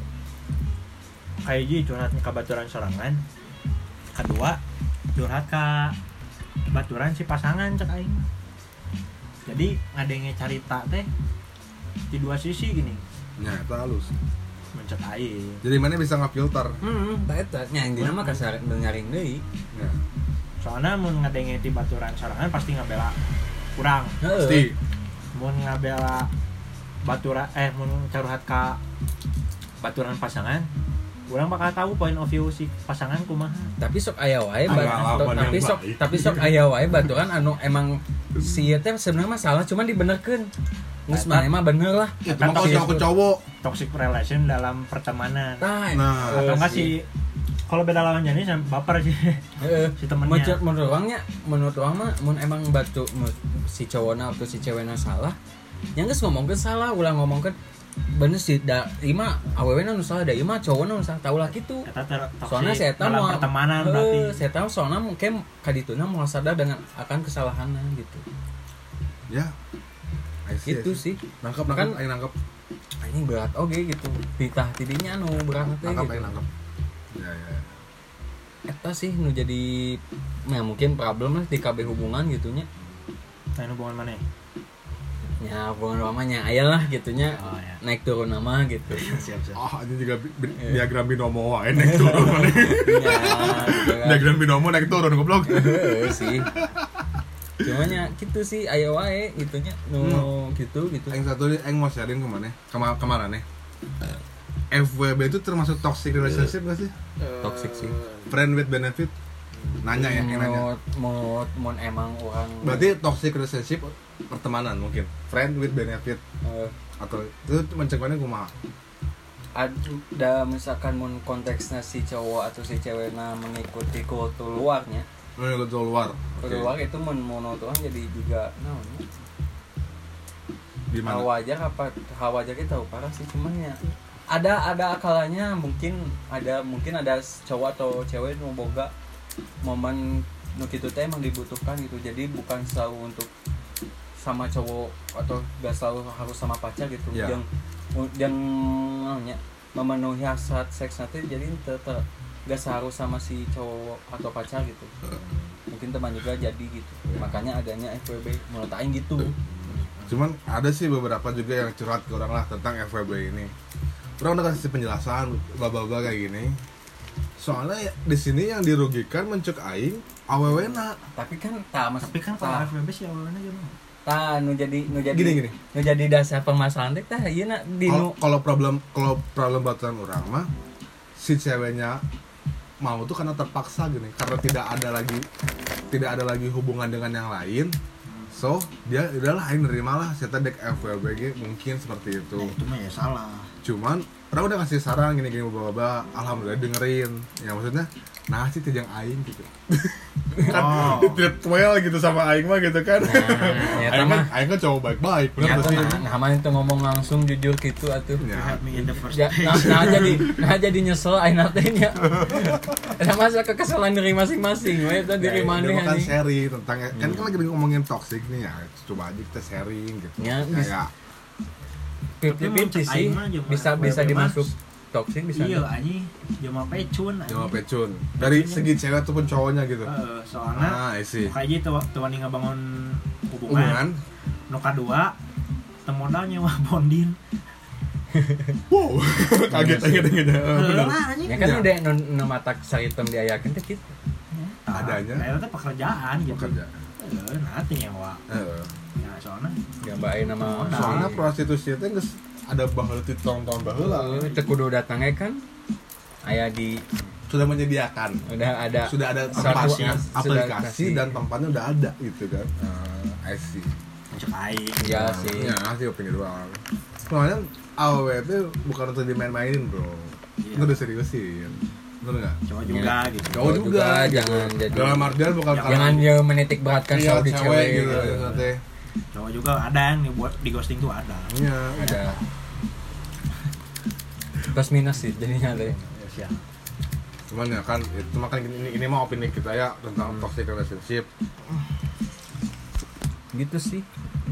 S3: kayak gitu curhat ke baturan sorangan kedua curhat ke baturan si pasangan cek aing mah. jadi ngadenge carita teh di dua sisi gini
S2: Ya itu halus.
S3: mencet aing
S2: Jadi mana bisa nggak filter?
S1: hmm tak eta nya intina mah kasar nyaring deui
S2: Ya.
S3: soalnya mau ngadenge di baturan sorangan pasti ngabela kurang
S1: heeh
S2: Pasti.
S3: mau ngabela baturan eh mau curhat ke baturan pasangan kurang bakal tahu point of view si pasangan kumaha
S1: tapi sok aya wae
S2: Ada
S1: bat-
S2: lawan yang
S1: tapi sok
S2: baik.
S1: tapi sok aya wae baturan anu emang si ieu teh sebenarnya masalah cuman dibenerkeun geus
S3: Eta-
S1: mana mah bener lah
S2: Ya, cuma kalau
S3: Tapi-
S2: cowok ke cowok.
S3: toxic relation dalam pertemanan
S1: Nah,
S2: Nah.
S1: eh,
S3: atau enggak
S1: sih.
S3: Iya sih kalau beda lawan jenis yang baper sih
S1: Heeh.
S3: si temennya.
S1: Menurut- menurut orangnya, menurut orang mah, mun emang batu mun si cowokna atau si cewekna salah, yang geus ngomongkeun salah, ulang ngomongkeun bener sih da ima awewena nu salah da ima cowokna nu salah tahulah kitu.
S3: Eta ter toxic
S1: Soalnya saya tahu
S3: dalam pertemanan berarti
S1: saya tahu soalnya mungkin kadituna mau sadar dengan akan kesalahannya gitu.
S2: Ya. I see,
S1: Gitu
S2: I
S1: sih.
S2: see. Nangkep
S1: Kan-
S2: nangkep. Ayo nangkep.
S1: Ini berat oke gitu. Pitah tidinya nu berat teh
S2: Nangkep ayo
S1: gitu.
S2: nangkep. Ya ya.
S1: Eta sih nu jadi nah mungkin problem lah di KB hubungan gitunya.
S3: nah ini hubungan mana ya?
S1: ya hubungan rumahnya ayalah gitunya
S3: Oh,
S2: iya.
S3: ya.
S1: naik turun nama gitu
S3: siap siap
S2: Ah, ini juga bi- bi- diagram binomo wae naik turun.
S1: ya gitu kan.
S2: Diagram binomo naik turun goblok.
S1: Heeh, sih cuman ya gitu sih ayo wae gitunya nu
S2: Hmm.
S1: gitu gitu
S2: Yang satu nih, Aing mau sharing kemana? Kema kemarin nih.
S1: Eh.
S2: FWB itu termasuk toxic relationship gak sih?
S1: toxic sih
S2: Friend with benefit? Nanya ya, yang nanya.
S1: mau mau mau emang orang
S2: Berarti toxic relationship pertemanan mungkin. Friend with benefit
S1: eh,
S2: atau itu mencegahannya kumaha?
S1: ada misalkan mun konteksnya si cowok atau si ceweknya mengikuti kultur luarnya
S2: Menurut luar.
S1: kultur
S2: Oke.
S1: luar itu mun monoton jadi juga naonnya
S2: Di
S1: hal
S2: mana?
S1: wajar apa hal wajar kita tahu gitu, parah sih cuman ya ada ada akalanya mungkin ada mungkin ada cowok atau cewek mau boga momen nu kitu teh emang dibutuhkan gitu jadi bukan selalu untuk sama cowok atau gak selalu harus sama pacar gitu
S2: Ya.
S1: yang yang namanya, memenuhi hasrat seks nanti jadi tetap gak harus sama si cowok atau pacar gitu mungkin teman juga jadi gitu makanya adanya FWB menurut Aing gitu
S2: Cuman ada sih beberapa juga yang curhat ke orang lah tentang FWB ini. Orang udah kasih penjelasan baba-baba kayak gini. Soalnya ya, di sini yang dirugikan mencuk aing awewena.
S1: tapi kan tak mas
S3: tapi kan
S1: tah-
S3: kalau FWB sih awalnya gimana
S1: tah nu jadi nu jadi
S2: Gini, Oh, gini.
S1: nu jadi dasar permasalahan teh tah ieu na di
S2: kalau
S1: nu
S2: kalau problem kalau problem baturan orang mah si ceweknya mau tuh karena terpaksa gini karena tidak ada lagi tidak ada lagi hubungan dengan yang lain so dia udahlah aing nerimalah saya tadi dek FWB ge, mungkin seperti itu
S5: Nah, itu mah ya salah
S2: cuman orang udah ngasih saran gini gini bapak bapak alhamdulillah dengerin ya maksudnya nah sih tejang aing gitu kan
S3: Oh.
S2: di treat well gitu sama aing mah gitu kan
S1: ya
S2: aing
S1: mah.
S2: kan aing kan cowok baik baik
S1: Ya,
S2: benar sih
S1: nah, itu ngomong langsung jujur gitu atuh.
S2: Ya.
S3: Had me in the first
S1: Ya, nah,
S3: place.
S1: nah jadi nah jadi nyesel aing teh nya. Ada masa kekesalan diri masing-masing we eta diri
S2: Ya,
S1: maneh
S2: dia kan
S1: anjing.
S2: sharing tentang kan kan lagi ngomongin toxic nih ya coba aja kita sharing gitu
S1: Ya,
S2: kayak
S1: Fifty-fifty sih
S3: Tapi mau cek aing mah
S1: bisa
S3: jeung
S1: bisa
S3: mana
S1: dimasuk
S3: bebas.
S1: toksik bisa.
S3: iya anjing jelma pecun ya? anjing.
S2: Jawa Pecun dari segi cewek ataupun cowoknya gitu
S3: Heeh, soalnya
S2: ah I see
S3: kayak gitu tuan yang ngebangun hubungan
S2: hubungan
S3: nu kadua teu modal nyewa bondin
S2: wow kaget kaget kaget Eh, benar
S3: Heula, anjing.
S1: Ya kan
S2: Ya.
S1: udah nu nu matak saritem diayakeun teh kitu.
S3: Tah,
S2: Adanya.
S3: nah, itu teh pekerjaan gitu
S2: kerja
S3: Heeh, nah teu nyewa
S2: Eh,
S3: ya soalnya
S1: Gambain nama
S2: soalnya prostitusi itu geus ada baheula di tahun-tahun baheula
S1: Teu kudu datang eh, kan aya di
S2: sudah menyediakan
S1: udah ada
S2: Ya. sudah ada
S1: Satu-
S2: tempatnya
S1: sudah
S2: aplikasi
S1: kasih.
S2: dan tempatnya udah ada gitu kan Eh, I see
S3: cek aing
S1: ya
S2: Nah,
S1: sih.
S2: ya sih opini doang soalnya AW itu bukan untuk dimain-mainin bro
S3: Iya.
S2: itu udah seriusin bener nggak
S3: cowok juga gitu
S2: Cowok juga, gitu.
S1: jangan jadi
S2: dalam artian bukan
S3: Jangan
S1: jangan jauh menitik beratkan
S2: Iya,
S1: soal di cewek gitu.
S2: nanti
S3: cowok juga ada yang dibuat di ghosting tuh ada
S2: Iya,
S1: Ada plus minus sih jadinya deh.
S3: ya
S2: cuman ya kan itu mah kan ini, ini mah opini kita ya tentang
S1: Hmm.
S2: toxic relationship
S1: Gitu sih.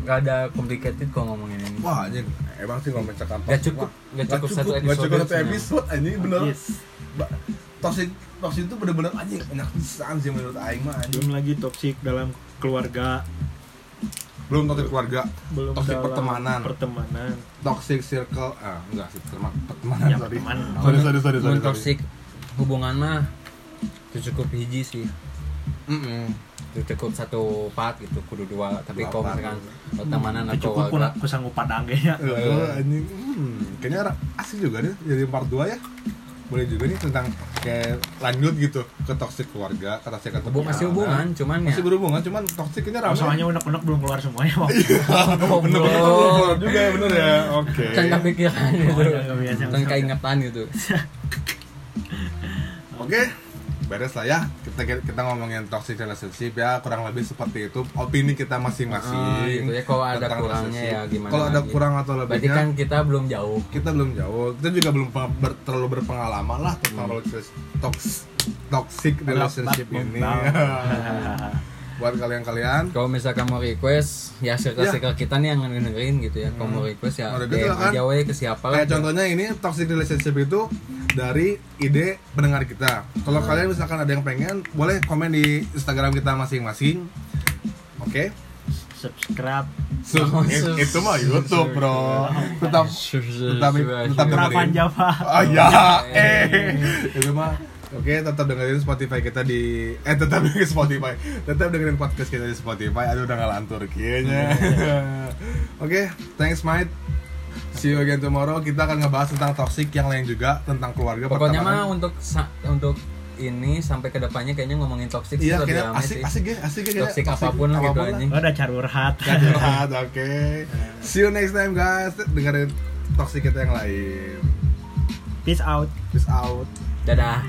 S1: Gak ada complicated kok ngomongin ini.
S2: wah anjing emang sih ngomong cekam
S1: Gak cukup, gak cukup satu
S2: gak
S1: episode.
S2: cukup satu episode anjing bener
S3: yes.
S2: Ba- toxic toxic itu bener-bener anjing enak pisan sih menurut aing mah anjing
S1: Hmm.
S3: belum lagi toksik dalam keluarga
S2: belum toxic keluarga
S3: belum
S2: Toxic
S3: dalam
S2: pertemanan.
S3: pertemanan
S2: toxic circle ah enggak sih terma- pertemanan
S3: ya
S2: sorry
S3: pertemanan
S2: sorry sorry sorry
S1: Mun
S2: sorry
S1: toxic hubungan mah itu cukup hiji sih.
S2: Mm-mm.
S1: Itu cukup satu part gitu, kudu dua. Tapi
S2: Dua
S1: kalau
S2: part. Hmm.
S1: misalkan pertemanan atau
S3: cukup pun
S1: keluarga,
S3: aku sanggup padang kayaknya
S2: Eh, anjing hmm, kayaknya ra- asik juga nih jadi part 2 ya boleh juga nih tentang kayak lanjut gitu ke toxic keluarga ke toxic
S1: hubung
S2: pertemanan.
S1: masih hubungan, cuman ya.
S2: Iya, nah. masih berhubungan cuman toksiknya ramai
S3: soalnya unek-unek belum keluar semuanya waktu
S2: Iya,
S1: Oh,
S2: bener bener
S1: belum.
S2: juga ya bener ya oke
S1: Kan gak pikiran gitu.
S3: Oh, nggak biasa.
S1: Kan keingetan gitu.
S2: oke beres lah ya kita kita ngomongin toxic relationship ya kurang lebih seperti itu opini kita masing-masing
S1: Ah, gitu ya. Kalau ada
S2: tentang
S1: kurangnya
S2: relationship.
S1: ya gimana
S2: kalau ada
S1: lagi.
S2: kurang atau
S1: Berarti
S2: lebihnya
S1: kan kita belum jauh.
S2: kita belum jauh kita juga belum pe- ber- terlalu berpengalaman lah tentang relationship- tox- toxic relationship ini buat kalian-kalian
S1: Kalau misalkan mau request, ya circle-circle kita nih yang dengerin gitu ya. Kalau mau request ya
S2: Hmm. Mau request
S1: DM
S2: silakan.
S1: aja we ke siapa lah.
S2: kayak contohnya ini toxic relationship itu dari ide pendengar kita kalau kalian misalkan ada yang pengen boleh komen di instagram kita masing-masing oke
S3: subscribe
S2: So, it- itu mah YouTube bro tetap tetap tetap
S3: berapa
S2: dengerin
S3: Java
S2: oh ya eh itu mah Oke, tetap dengerin Spotify kita di eh tetap dengerin Spotify. Tetap dengerin podcast kita di Spotify. Aduh udah ngelantur kayaknya. Oke, thanks Mike. See you again tomorrow. Kita akan ngebahas tentang toxic yang lain juga tentang keluarga
S1: Pokoknya
S2: pertemanan.
S1: mah untuk sa- untuk ini sampai ke depannya kayaknya ngomongin toxic sih
S2: Iya,
S1: lebih
S2: kayaknya
S1: rame
S2: asik,
S1: sih.
S2: asik ya, asik ya. kayaknya.
S1: gitu Toxic apapun lah gitu anjing.
S3: udah curhat
S2: Ya, curhat, oke. See you next time guys. Dengerin toxic kita yang lain.
S3: peace out
S2: Peace out.
S1: Dadah.